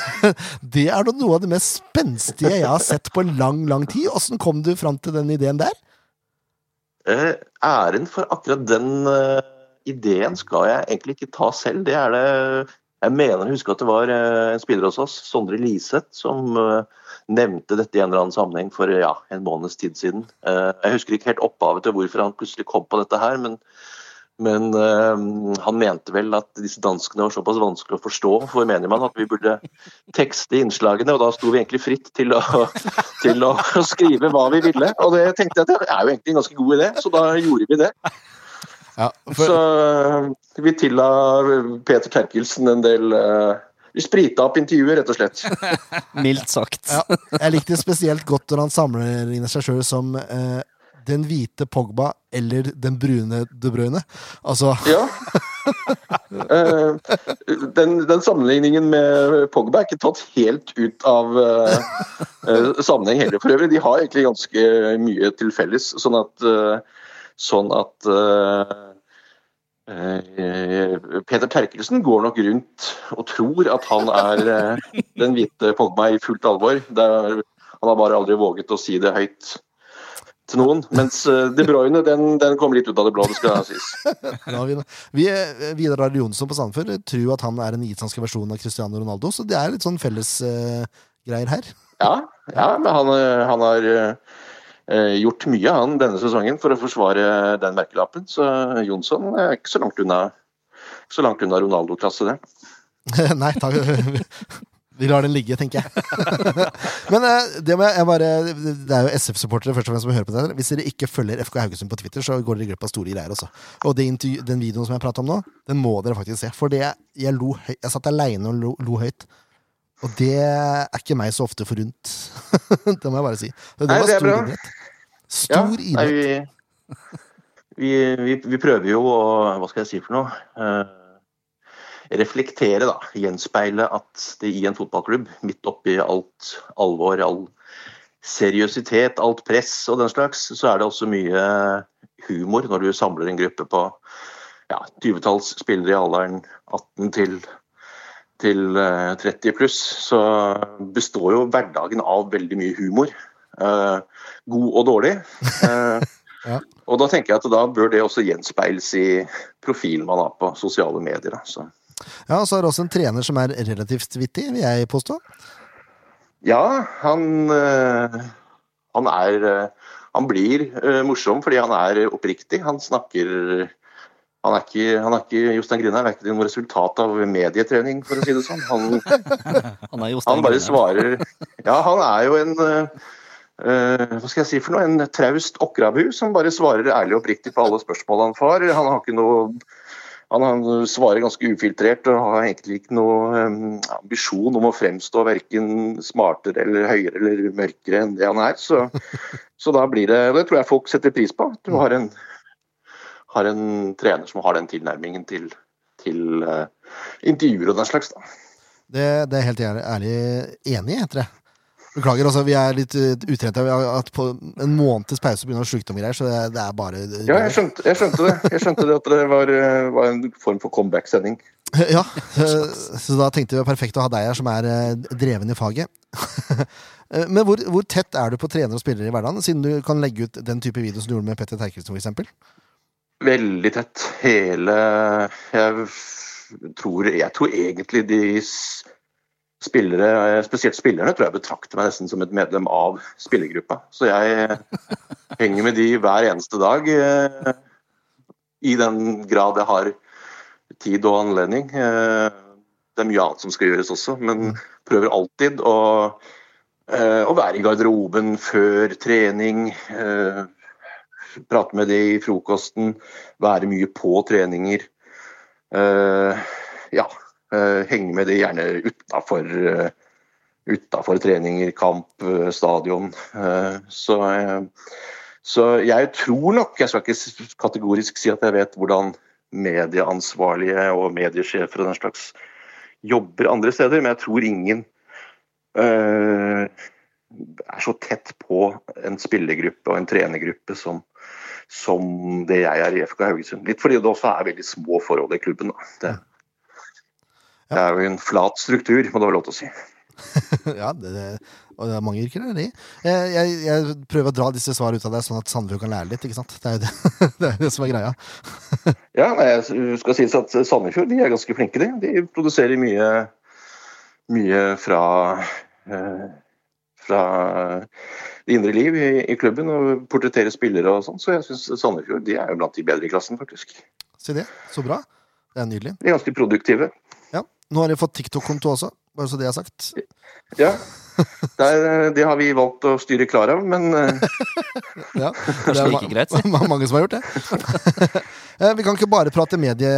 Det er da noe av det mest spenstige jeg har sett på lang, lang tid. Åssen kom du fram til den ideen der? Eh, Æren for akkurat den eh, ideen skal jeg egentlig ikke ta selv. Det er det Jeg mener å huske at det var eh, en spiller hos oss, Sondre Liseth, som eh, nevnte dette i en eller annen sammenheng for eh, ja, en måneds tid siden. Eh, jeg husker ikke helt opphavet til hvorfor han plutselig kom på dette her, men men eh, han mente vel at disse danskene var såpass vanskelig å forstå for menigmann at vi burde tekste innslagene, og da sto vi egentlig fritt til å, til å skrive hva vi ville. Og det tenkte jeg at det er jo egentlig en ganske god idé, så da gjorde vi det. Ja, Så eh, vi tilla Peter Terkelsen en del eh, sprita opp intervjuet, rett og slett. Mildt sagt. Ja, jeg likte spesielt godt når han sammenligner seg sjøl som eh, den hvite Pogba eller den brune De Bruyne. Altså, Ja. Eh, den, den sammenligningen med Pogba er ikke tatt helt ut av eh, eh, sammenheng heller, for øvrig. De har egentlig ganske mye til felles, sånn at, eh, sånn at eh, eh, Peter Terkelsen går nok rundt og tror at han er eh, den hvite Pogba i fullt alvor. Det er, han har bare aldri våget å si det høyt til noen. Mens eh, De Bruyne, den, den kom litt ut av det blå, det skal sies. ja, vi, vi, eh, Vidar Arild Johnsen på Sandefjord tror at han er den islandske versjonen av Cristiano Ronaldo, så det er litt sånn felles eh, greier her. Ja, ja men han, eh, han har eh, gjort mye han denne sesongen for å forsvare den merkelappen. Så Jonsson er ikke så langt unna, ikke så langt unna Ronaldo-klasse, det. Nei, takk. Vi lar den ligge, tenker jeg. Men eh, det, må jeg bare, det er jo SF-supportere først og fremst som hører på dette. Hvis dere ikke følger FK Haugesund på Twitter, så går dere glipp av store greier. Også. Og det intervju- den videoen som jeg prata om nå, den må dere faktisk se. For det, jeg, lo høy, jeg satt aleine og lo, lo høyt. Og det er ikke meg så ofte forunt. det må jeg bare si. Det, Nei, var det er stor bra. idrett. Stor nei, idrett. vi, vi, vi, vi prøver jo å Hva skal jeg si for noe? Eh, reflektere, da. Gjenspeile at det i en fotballklubb, midt oppi alt alvor, all seriøsitet, alt press og den slags, så er det også mye humor når du samler en gruppe på ja, 20-talls spillere i alderen 18 til til eh, 30 pluss, så består jo hverdagen av veldig mye humor. Eh, god og dårlig. Eh, Ja. Og da tenker jeg at da bør det også gjenspeiles i profilen man har på sosiale medier. da. Så. Ja, og så er det også en trener som er relativt vittig, vil jeg påstå. Ja, han, eh, han er eh, Han blir eh, morsom fordi han er oppriktig. Han snakker han er ikke, han er ikke, Jostein Grine er ikke noe resultat av medietrening, for å si det sånn. Han, Han er Jostein Han bare Grønheim. svarer Ja, han er jo en eh, eh, hva skal jeg si for noe? En traust okrabu som bare svarer ærlig og oppriktig på alle spørsmål han får. Han har ikke noe han, han svarer ganske ufiltrert og har egentlig ikke noe eh, ambisjon om å fremstå verken smartere eller høyere eller mørkere enn det han er. Så, så da blir det Det tror jeg folk setter pris på. at Du har en, har en trener som har den tilnærmingen til, til eh, intervjuer og den slags. da. Det, det er jeg helt ærlig, ærlig enig i, heter det. Beklager, altså, vi er litt eh, utrente. Vi har hatt på en måneds pause pga. sykdom og greier, så det, det er bare eh, Ja, jeg skjønte, jeg skjønte det. Jeg skjønte det at det var, eh, var en form for comeback-sending. Ja, eh, Så da tenkte vi det var perfekt å ha deg her, som er eh, dreven i faget. Eh, Men hvor, hvor tett er du på trenere og spillere i hverdagen, siden du kan legge ut den type video som du gjorde med Petter Terkelsen, for eksempel? Veldig tett. Hele Jeg f- tror, jeg tror egentlig de s- spillere, eh, spesielt spillerne, tror jeg betrakter meg nesten som et medlem av spillergruppa. Så jeg henger med de hver eneste dag. eh, I den grad jeg har tid og anledning. Eh, Det er mye annet som skal gjøres også, men prøver alltid å, eh, å være i garderoben før trening. eh, Prate med de i frokosten være mye på treninger. Eh, ja, eh, henge med det gjerne utafor eh, utafor treninger, kamp, eh, stadion. Eh, så, eh, så jeg tror nok, jeg skal ikke s- kategorisk si at jeg vet hvordan medieansvarlige og mediesjefer og den slags jobber andre steder, men jeg tror ingen eh, er så tett på en spillergruppe og en trenergruppe som som det jeg er i FK Haugesund. Litt fordi det også er veldig små forhold i klubben. Da. Det, det er jo en flat struktur, må det være lov til å si. ja, det, det, og det er mange yrker, det er de. Eh, Jeg, jeg prøver å dra disse svarene ut av deg, sånn at Sandefjord kan lære litt, ikke sant? Det er jo det, det, er jo det som er greia. Ja, nei, jeg skal sies at Sandefjord de er ganske flinke, de. De produserer mye, mye fra, eh, fra det indre liv i, i klubben og portretterer spillere og sånn, så jeg syns Sandefjord de er jo blant de bedre i klassen, faktisk. Se det, så bra. Det er nydelig. De er ganske produktive. Ja, Nå har de fått TikTok-konto også, bare så det er sagt. Ja. Der, eh, det har vi valgt å styre klar av, men eh, Ja, Kanskje det er like greit, si. ma- ma- mange som har gjort det. Eh, Vi kan ikke bare prate medie,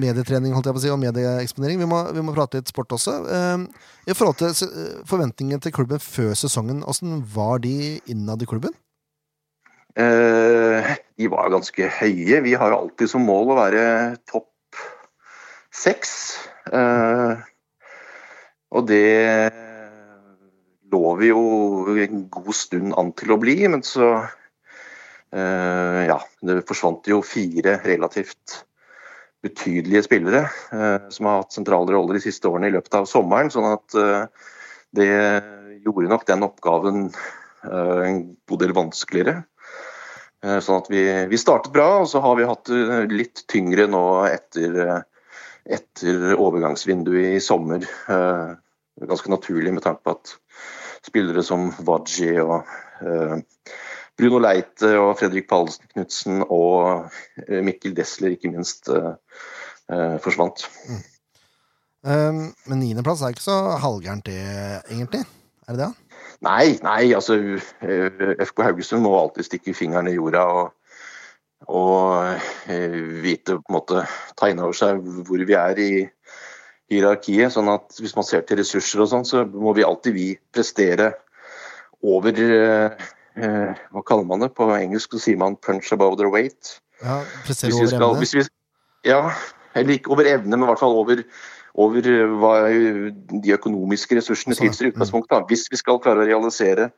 medietrening holdt jeg på å si, og medieeksponering. Vi må, vi må prate litt sport også. Eh, I forhold til eh, forventningene til klubben før sesongen, åssen var de innad i klubben? Eh, de var jo ganske høye. Vi har jo alltid som mål å være topp seks. Eh, og det lå vi jo en god stund an til å bli, men så eh, Ja, det forsvant jo fire relativt betydelige spillere eh, som har hatt sentrale roller de siste årene i løpet av sommeren, sånn at eh, det gjorde nok den oppgaven eh, en god del vanskeligere. Eh, Sånn at vi, vi startet bra, og så har vi hatt det litt tyngre nå etter, eh, etter overgangsvinduet i sommer. Eh, Ganske naturlig med tanke på at spillere som Wadji og eh, Bruno Leite og Fredrik Pallesen Knutsen og eh, Mikkel Desler ikke minst eh, eh, forsvant. Eh, Men niendeplass er ikke så halvgærent, det, egentlig. Er det det? Nei, nei, altså eh, FK Haugesund må alltid stikke fingeren i jorda og, og eh, vite på en måte ta inn over seg hvor vi er i hierarkiet. sånn at hvis man ser til ressurser og sånn, så må vi alltid vi prestere over eh, eh, Hva kaller man det? På engelsk så sier man 'punch above their weight'. Ja, Presterer Hvis over vi skal, evne. hvis vi, ja, eller ikke over evne, men i hvert fall over, over eh, hva de økonomiske ressursene Sånn, ja. tilsier i utgangspunktet. da. Hvis vi skal klare å realisere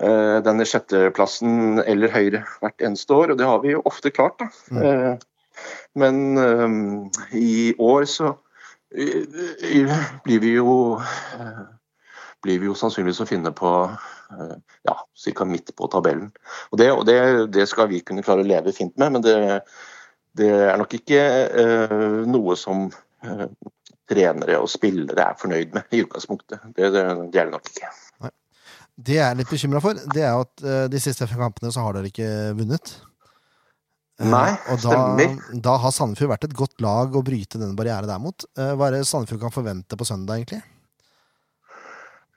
eh, denne sjetteplassen eller høyere hvert eneste år, og det har vi jo ofte klart. da. Mm. Eh, men eh, i år så eh, eh, blir vi jo eh, blir vi jo sannsynligvis å finne på eh, ja, ca. midt på tabellen. Og det, og det, det skal vi kunne klare å leve fint med, men det, det er nok ikke eh, noe som eh, trenere og spillere er fornøyd med i utgangspunktet. Det, det, det er det nok ikke. Det jeg er litt bekymra for, det er jo at eh, de siste fem kampene så har dere ikke vunnet. Eh, Nei, og da, stemmer. da har Sandefjord vært et godt lag å bryte den barrieren der mot. Eh, Hva er det Sandefjord kan forvente på søndag, egentlig?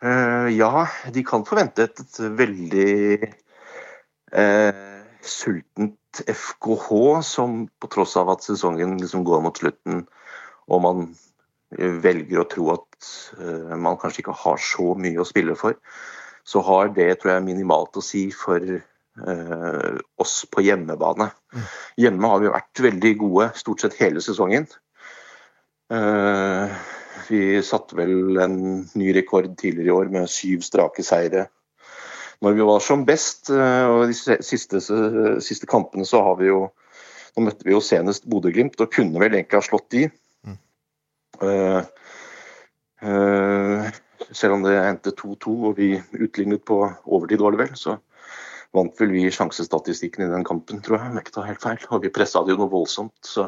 Eh, ja, de kan forvente et, et veldig eh, sultent FKH, som på tross av at sesongen liksom går mot slutten, og man eh, velger å tro at eh, man kanskje ikke har så mye å spille for, så har det tror jeg, minimalt å si for eh, oss på hjemmebane. Hjemme har vi vært veldig gode stort sett hele sesongen. Eh, vi satte vel en ny rekord tidligere i år med syv strake seire. Når vi var som best, eh, og de se- siste, se- siste kampene så har vi jo Nå møtte vi jo senest Bodø-Glimt, og kunne vel egentlig ha slått de. Mm. Eh, eh, selv om det endte 2-2 og vi utlignet på overtid, var det vel, så vant vel vi sjansestatistikken i den kampen, tror jeg. om jeg ikke tar helt feil. Og vi pressa det jo noe voldsomt. Så,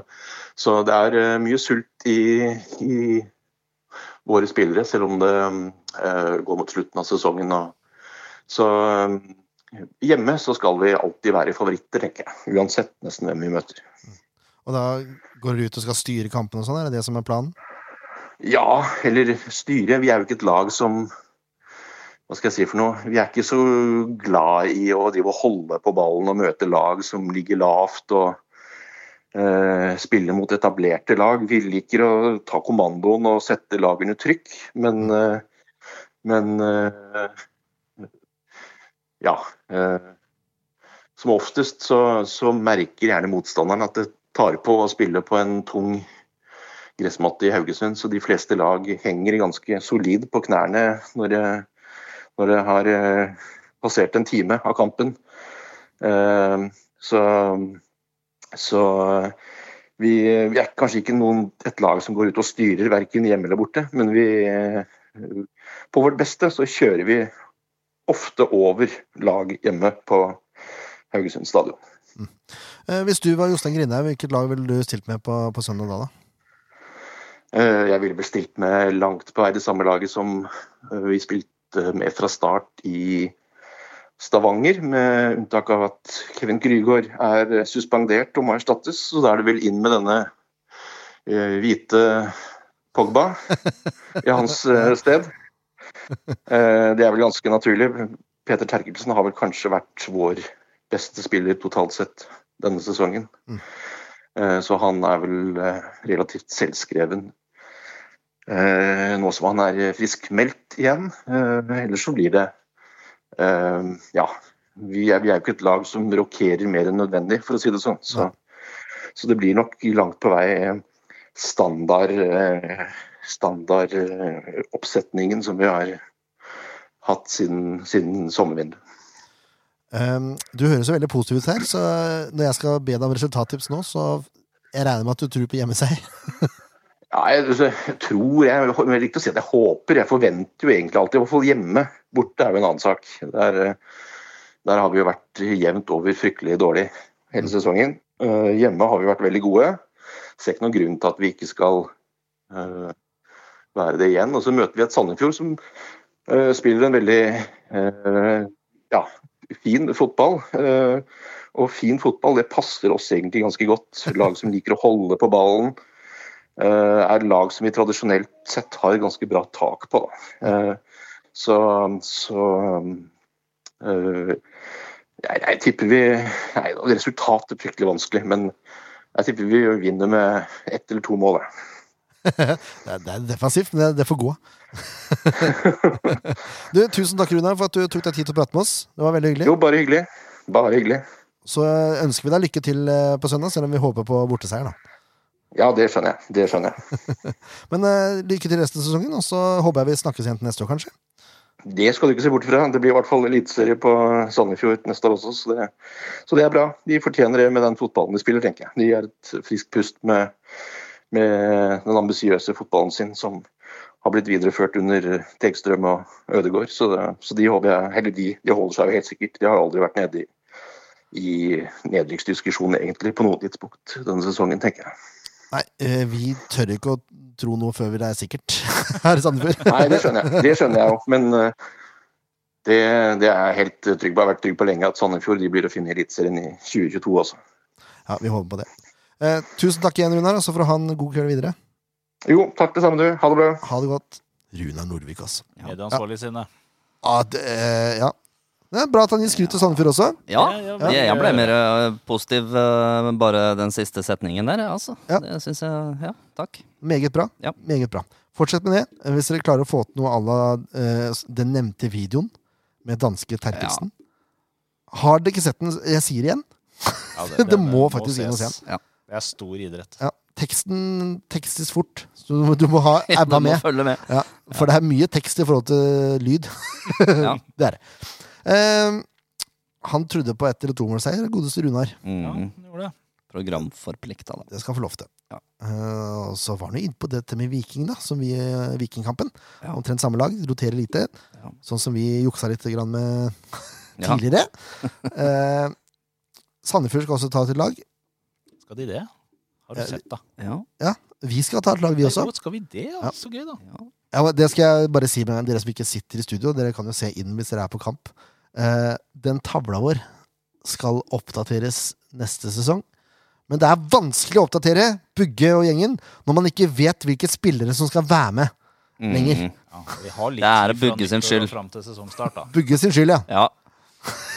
så det er eh, mye sult i, i våre spillere, selv om det eh, går mot slutten av sesongen. Og, så eh, hjemme så skal vi alltid være favoritter, tenker jeg. Uansett nesten hvem vi møter. Og da går dere ut og skal styre kampene og sånn, er det det som er planen? Ja, eller styre. Vi er jo ikke et lag som Hva skal jeg si for noe? Vi er ikke så glad i å drive og holde på ballen og møte lag som ligger lavt og eh, spille mot etablerte lag. Vi liker å ta kommandoen og sette lag under trykk, men eh, Men eh, ja. eh, som oftest så, så merker gjerne motstanderen at det tar på å spille på en tung gressmatte i Haugesund, så de fleste lag henger ganske solid på knærne når det, når det har eh, passert en time av kampen. Eh, så så eh, vi, vi er kanskje ikke noen, et lag som går ut og styrer verken hjemme eller borte, men vi eh, på vårt beste så kjører vi ofte over lag hjemme på Haugesund stadion. Eh, Hvis du var Jostein Grindhaug, hvilket lag ville du stilt med på, på søndag da? da? Eh, Jeg ville vel stilt med langt på vei det samme laget som eh, vi spilte med fra start i Stavanger, med unntak av at Kevin Krygård er eh, suspendert og må erstattes. Så da er det vel inn med denne eh, hvite Pogba i hans eh, sted. Eh, Det er vel ganske naturlig. Peter Terkelsen har vel kanskje vært vår beste spiller totalt sett denne sesongen. Eh, Så han er vel eh, relativt selvskreven eh, nå som han er friskmeldt igjen. Eh, Ellers så blir det eh, Ja, vi er, vi er jo ikke et lag som rokerer mer enn nødvendig, for å si det sånn. Så, så det blir nok langt på vei eh, standard eh, standardoppsetningen som vi har hatt siden, siden sommervinduet. Um, du høres jo veldig positiv ut her, så eh, når jeg skal be deg om resultattips nå, så jeg regner med at du tror på hjemmeseier. Ja, jeg, altså, jeg tror jeg, jeg likte å si at jeg håper. Jeg forventer jo egentlig alltid, i hvert fall hjemme. Borte er jo en annen sak. Der, eh, der har vi jo vært jevnt over fryktelig dårlig hele sesongen. Eh, hjemme har vi vært veldig gode. Ser ikke noen grunn til at vi ikke skal eh, være det igjen. Og så møter vi et Sandefjord som eh, spiller en veldig eh, ja, fin fotball. Eh, og fin fotball, det passer oss egentlig ganske godt. Lag som liker å holde på ballen eh, er lag som vi tradisjonelt sett har ganske bra tak på. Da. Eh, så så eh, jeg, jeg tipper vi Nei, resultatet er fryktelig vanskelig, men jeg tipper vi vinner med ett eller to mål. da. Det er, det er defensivt, men det, det får gå. du, tusen takk, Runar, for at du tok deg tid til å prate med oss. Det var veldig hyggelig. Jo, bare hyggelig. Bare hyggelig. Så ønsker vi deg lykke til eh, på søndag, selv om vi håper på borteseier. da. Ja, det skjønner jeg. Det skjønner jeg. Men eh, lykke til resten av sesongen, og så håper jeg vi snakkes igjen til neste år, kanskje. Det skal du ikke se bort fra. Det blir i hvert fall eliteserie på Sandefjord neste år også, så det, så det er bra. De fortjener det med den fotballen de spiller, tenker jeg. De er et friskt pust med, med den ambisiøse fotballen sin, som har blitt videreført under Tegstrøm og Ødegård. Så, det, så de håper jeg Eller de, de holder seg jo helt sikkert. De har aldri vært nede i, i nedrykksdiskusjon, egentlig, på noe tidspunkt denne sesongen, tenker jeg. Nei, eh, vi tør ikke å tro noe før vi det er sikkert her i Sandefjord. Nei, det skjønner jeg. Det skjønner jeg jo. Men eh, det, det er jeg helt trygg på. Jeg har vært trygg på lenge at Sandefjord de blir å finne i Eliteserien i 2022 også. Ja, vi håper på det. Eh, tusen takk igjen, Runar, og så får du ha en god kveld videre. Jo, takk det samme, du. Ha det bra. Ha det godt. Runar Norvik, altså. Medieansvarlig sine. Ja, det, eh, ja. Det er bra at han gir skryt til Sandefjord også. Ja, Ja, ja, jeg, jeg ble men- mer eh, positiv eh, bare den siste setningen der, jeg, altså. Ja. Det syns jeg Ja, takk. Meget bra. Ja. Meget bra. Fortsett med det. eh, Hvis dere klarer å få til noe à la eh, den nevnte videoen med danske Terkelsen. Har dere ikke sett den? Jeg sier det igjen. Ja, Det må faktisk inn og ses. se Ja. Det er stor idrett. Ja. Teksten tekstes fort, så du, du må ha Du æva må med. følge med. Ja, for det er mye tekst i forhold til lyd. Ja. Det er det. Eh, han trodde på ett eller to målseier, godeste Runar. Ja, Mm, den gjorde det. programforplikta, da. Det skal han få lov til. Ja. Eh, og så var han jo inne på dette med Viking, da, som vi, eh, Vikingkampen. Ja. Omtrent samme lag, roterer lite. Ja. Sånn som vi juksa litt grann med Ja. tidligere. Eh, Sandefjord skal også ta et lag. Skal de det? Har du Eh, sett, da? Ja, Vi skal ta et lag, vi også. Jo, Skal vi det? Ja, Ja. Så gøy, da. ja. Ja, men det skal jeg bare si med dere som ikke sitter i studio. Dere kan jo se inn hvis dere er på kamp. Eh, den tavla vår skal oppdateres neste sesong. Men det er vanskelig å oppdatere Bugge og gjengen når man ikke vet hvilke spillere som skal være med. Mm. Lenger. Ja, vi har litt Det er tid fra Bugge sin nyttår skyld. og Fram til sesongstart, da. Bugge sin skyld, ja. Ja,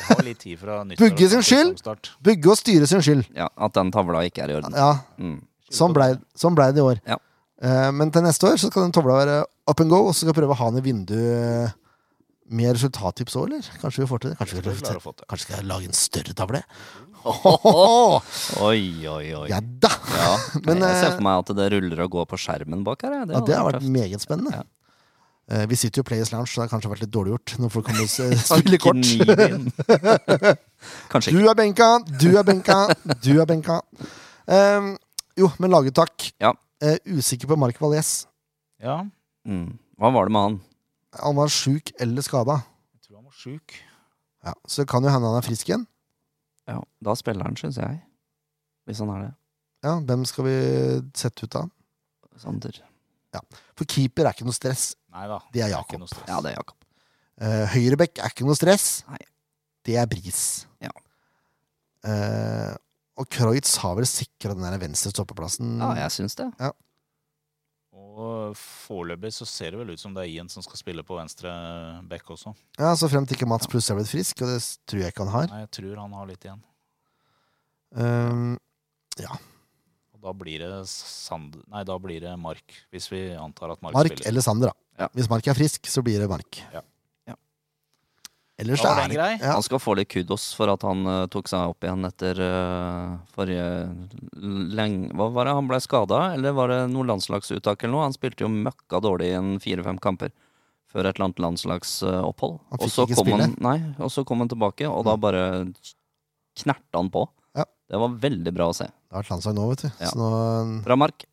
Vi har litt tid fra nyttår Bugge sin og fram til skyld? sesongstart. Bugge og styre sin skyld. ja, at den tavla ikke er i orden. Ja, Mm. sånn blei sånn ble det i år. Ja. Eh, men til neste år så skal den tavla være up and go, og så skal jeg prøve å ha den i vinduet eh, med resultattips òg, eller? Kanskje vi får til det? Kanskje, vi Det skal vi klare å få til. kanskje skal jeg lage en større tavle? Oi, oi, oi. Ja da! Ja. Men, jeg ser eh, for meg at det ruller og går på skjermen bak her. jeg. Ja, det har hadde vært tøft. meget spennende. Ja. Eh, Vi sitter jo i Players Lounge, så det har kanskje vært litt dårlig gjort når folk kommer og s- spiller kort. Gniv inn. Kanskje ikke. Du er benka, du er benka, du er benka. Eh, jo, men laguttak. Ja. Eh, usikker på Mark Valles. Ja, Mm. Hva var det med han? Han var sjuk eller skada. jeg tror han var sjuk. Ja, så det kan jo hende han er frisk igjen. Ja, da spiller han, syns jeg. Hvis han er det. Ja, Hvem skal vi sette ut da? Sander. For keeper er ikke noe stress. Nei da. Det er ikke Jakob. noe stress. Ja, det er Jakob. Eh, Høyrebekk er ikke noe stress. Nei. Det er bris. Ja. Eh, og Kreutz har vel sikra den der venstre stoppeplassen. Ah, Ja, jeg syns det. Og foreløpig så ser det vel ut som det er Ian som skal spille på venstre back også. Ja, Så fremt ikke Mats plutselig er blitt frisk, og det s- tror jeg ikke han har. Nei, jeg tror han har litt igjen. Um, ja. Og da blir det sand... Nei, da blir det Mark, hvis vi antar at Mark, Mark spiller. eller Sander, da. Ja. Hvis Mark er frisk, så blir det Mark. Ja. Ja. Ellers Da så var er den det grei. ja. Han skal få litt kudos for at han eh, tok seg opp igjen etter eh, forrige lenge Hva var det, han ble skada, eller var det noe landslagsuttak eller noe? Han spilte jo møkka dårlig i en fire-fem kamper før et eller annet landslagsopphold. Han fikk Og så ikke kom spille. han, nei, og så kom han tilbake, og da bare knerta han på. Ja. Det var veldig bra å se. Det har vært landslag nå, vet du. Ja. Så nå Bra, Mark.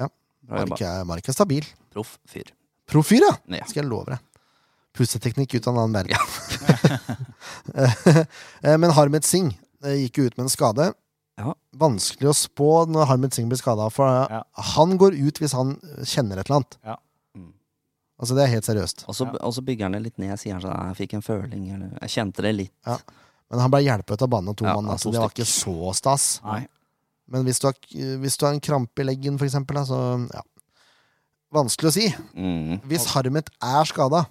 Ja. Bra Mark jobba. er, Mark er stabil. Proff fyr. Profyr, ja! Ja. Skal jeg love deg. Pusteteknikk ut av en annen verden. Eh, Men Harmet Singh eh, gikk jo ut med en skade. Ja. Vanskelig å spå når Harmet Singh blir skada, for eh, Ja. han går ut hvis han kjenner et eller annet. Ja. Mm. Altså, det er helt seriøst. Og så Ja. og så bygger han det litt ned, sier han sånn Jeg fikk en føling, eller Jeg kjente det litt. Men han ble hjulpet av banen av to Ja, mann, av altså, to det var stykk. ikke så stas. Nei. Men hvis du har, hvis du har en krampe i leggen, for eksempel, da, så ja. Vanskelig å si. Mm. Hvis Harmet er skada,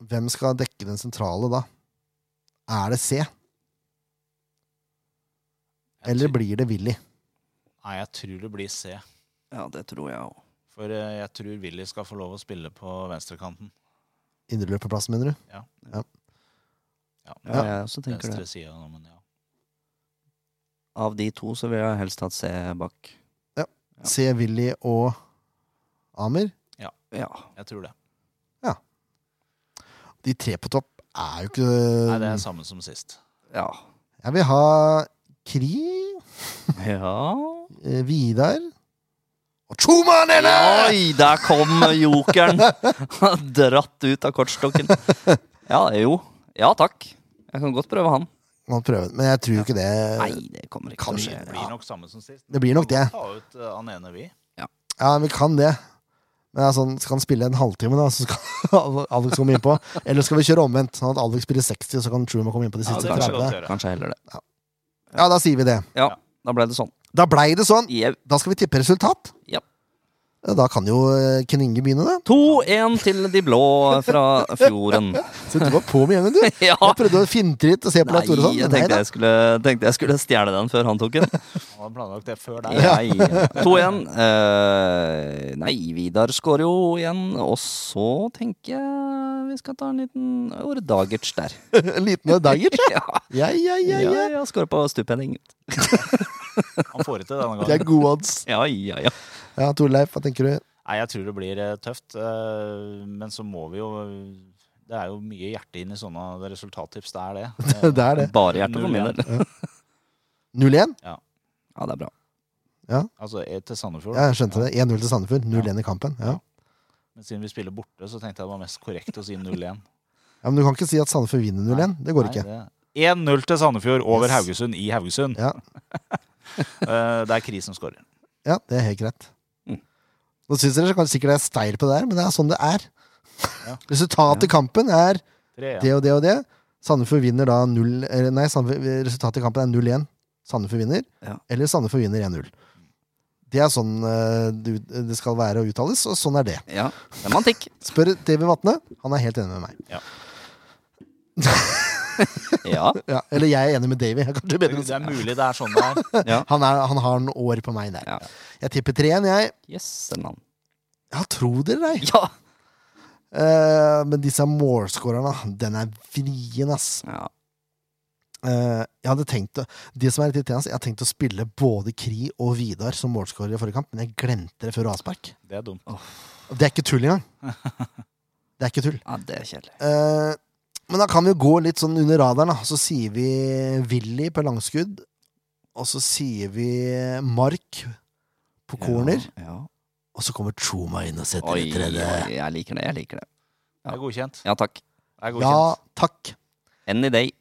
hvem skal dekke den sentrale da? Er det C, Jeg eller tror- blir det Willy? Nei, jeg tror det blir C. Ja, det tror jeg òg. For eh, jeg tror Willy skal få lov å spille på venstrekanten. Indreløperplassen, mener du? Ja, Ja, jeg også Eh, tenker det. venstre sida nå, men ja. Av de to så vil jeg helst hatt C bak. Ja. C, Willy og Amer? Ja. Jeg tror det. De tre på topp er jo ikke Nei, det Um, er samme som sist. Ja. Jeg vil ha Kri, ja. eh, Vidar og Tjomanene! Oi, der kom jokeren! Dratt ut av kortstokken. Ja, jo. Ja takk. Jeg kan godt prøve han. Må prøve, men jeg tror jo ikke det Nei, det kommer ikke til å Eh, Kanskje. skje. Det Ja. blir nok samme som sist. Det blir nok Vi kan det. godt Ta ut eh, han ene, vi. Ja, vi kan det. Men det er sånn, skal han spille en halvtime, da, så skal Alex komme innpå? Eller skal vi kjøre omvendt, sånn at Alex spiller 60, og så kan Truman komme innpå de Ja, det siste kan vi 30? godt gjøre. Kanskje heller det. Ja, da sier vi det. Ja, da ble det sånn. Da blei det sånn. Jau. Da skal vi tippe resultat. Ja. Ja, Da kan jo eh, Ken Inge begynne, da. 2-1 til de blå fra fjorden. Så du var på med en gang, du. Ja. Jeg prøvde å finte litt og se på Nei, Leif Tore sånn. jeg Nei, tenkte da. jeg, skulle, tenkte jeg skulle stjele den før han tok den. Han hadde planlagt det før deg. Ja, ja. 2-1. Eh, nei, Vidar skårer jo igjen. Og så tenker jeg vi skal ta en liten Ordagerts der. En liten dager. Ja, Ja, ja, ja, ja, ja. ja skårer på stuphending. Han får det til denne Det gangen. er gode odds. Ja, ja, ja. Ja, Torleif, hva tenker du? Nei, jeg tror det blir eh, tøft. eh, Men så må vi jo Det er jo mye hjerte inn i sånne resultattips. Det er det. Eh, Det er det. Bare hjertet for min 0-1. del. 0-1? Ja, det er bra. Altså eh, til Sandefjord. Ja, jeg skjønte det. 1-0 til Sandefjord. 0-1 i kampen. Ja. Men siden vi spiller borte, så tenkte jeg det var mest korrekt å si 0-1. ja, Men du kan ikke si at Sandefjord vinner 0-1. Det går Nei, ikke. det- 1-0 til Sandefjord over Yes. Haugesund i Haugesund. Ja. Eh, Det er Kri som skårer. Ja, det er helt greit. Mm. Nå syns dere kanskje sikkert jeg er steil på det her, men det er sånn det er. Ja. Resultatet i kampen er Tre, det ja. og det og det. Sandefjord vinner da 0 eller Nei, Sandefjord, resultatet i kampen er 0-1. Sandefjord vinner. Ja. Eller Sandefjord vinner 1-0. Det er sånn eh, du- det skal være å uttales, og sånn er det. Ja, Semantikk. Spør TV Vatne. Han er helt enig med meg. Ja. Ja, eller jeg er enig med Davy. Jeg er kanskje Det bedre å si. det er mulig det er sånn det er. ja. Han, er, han har noen år på meg der. Ja. Jeg tipper 3-1, jeg. Yes, en mann. Ja, tro dere, nei. Ja. Eh, men disse målskårerne, den er vrien, ass. ja. Eh, jeg hadde tenkt å, Det som er litt irriterende, jeg hadde tenkt å spille både Kri og Vidar som målskårer i forrige kamp, men jeg glemte det før avspark. Det er dumt. Og Det er ikke tull engang. Det er ikke tull. ja, det er kjedelig. Eh, men da kan vi jo gå litt sånn under radaren, da. Så sier vi Willy på langskudd, og så sier vi Mark på corner, Ja, ja. og så kommer Truma inn og setter det Oi, oi, tredje. jeg liker det. Jeg liker det. Det er godkjent. Ja takk. Det er Ja, godkjent. takk. Any day.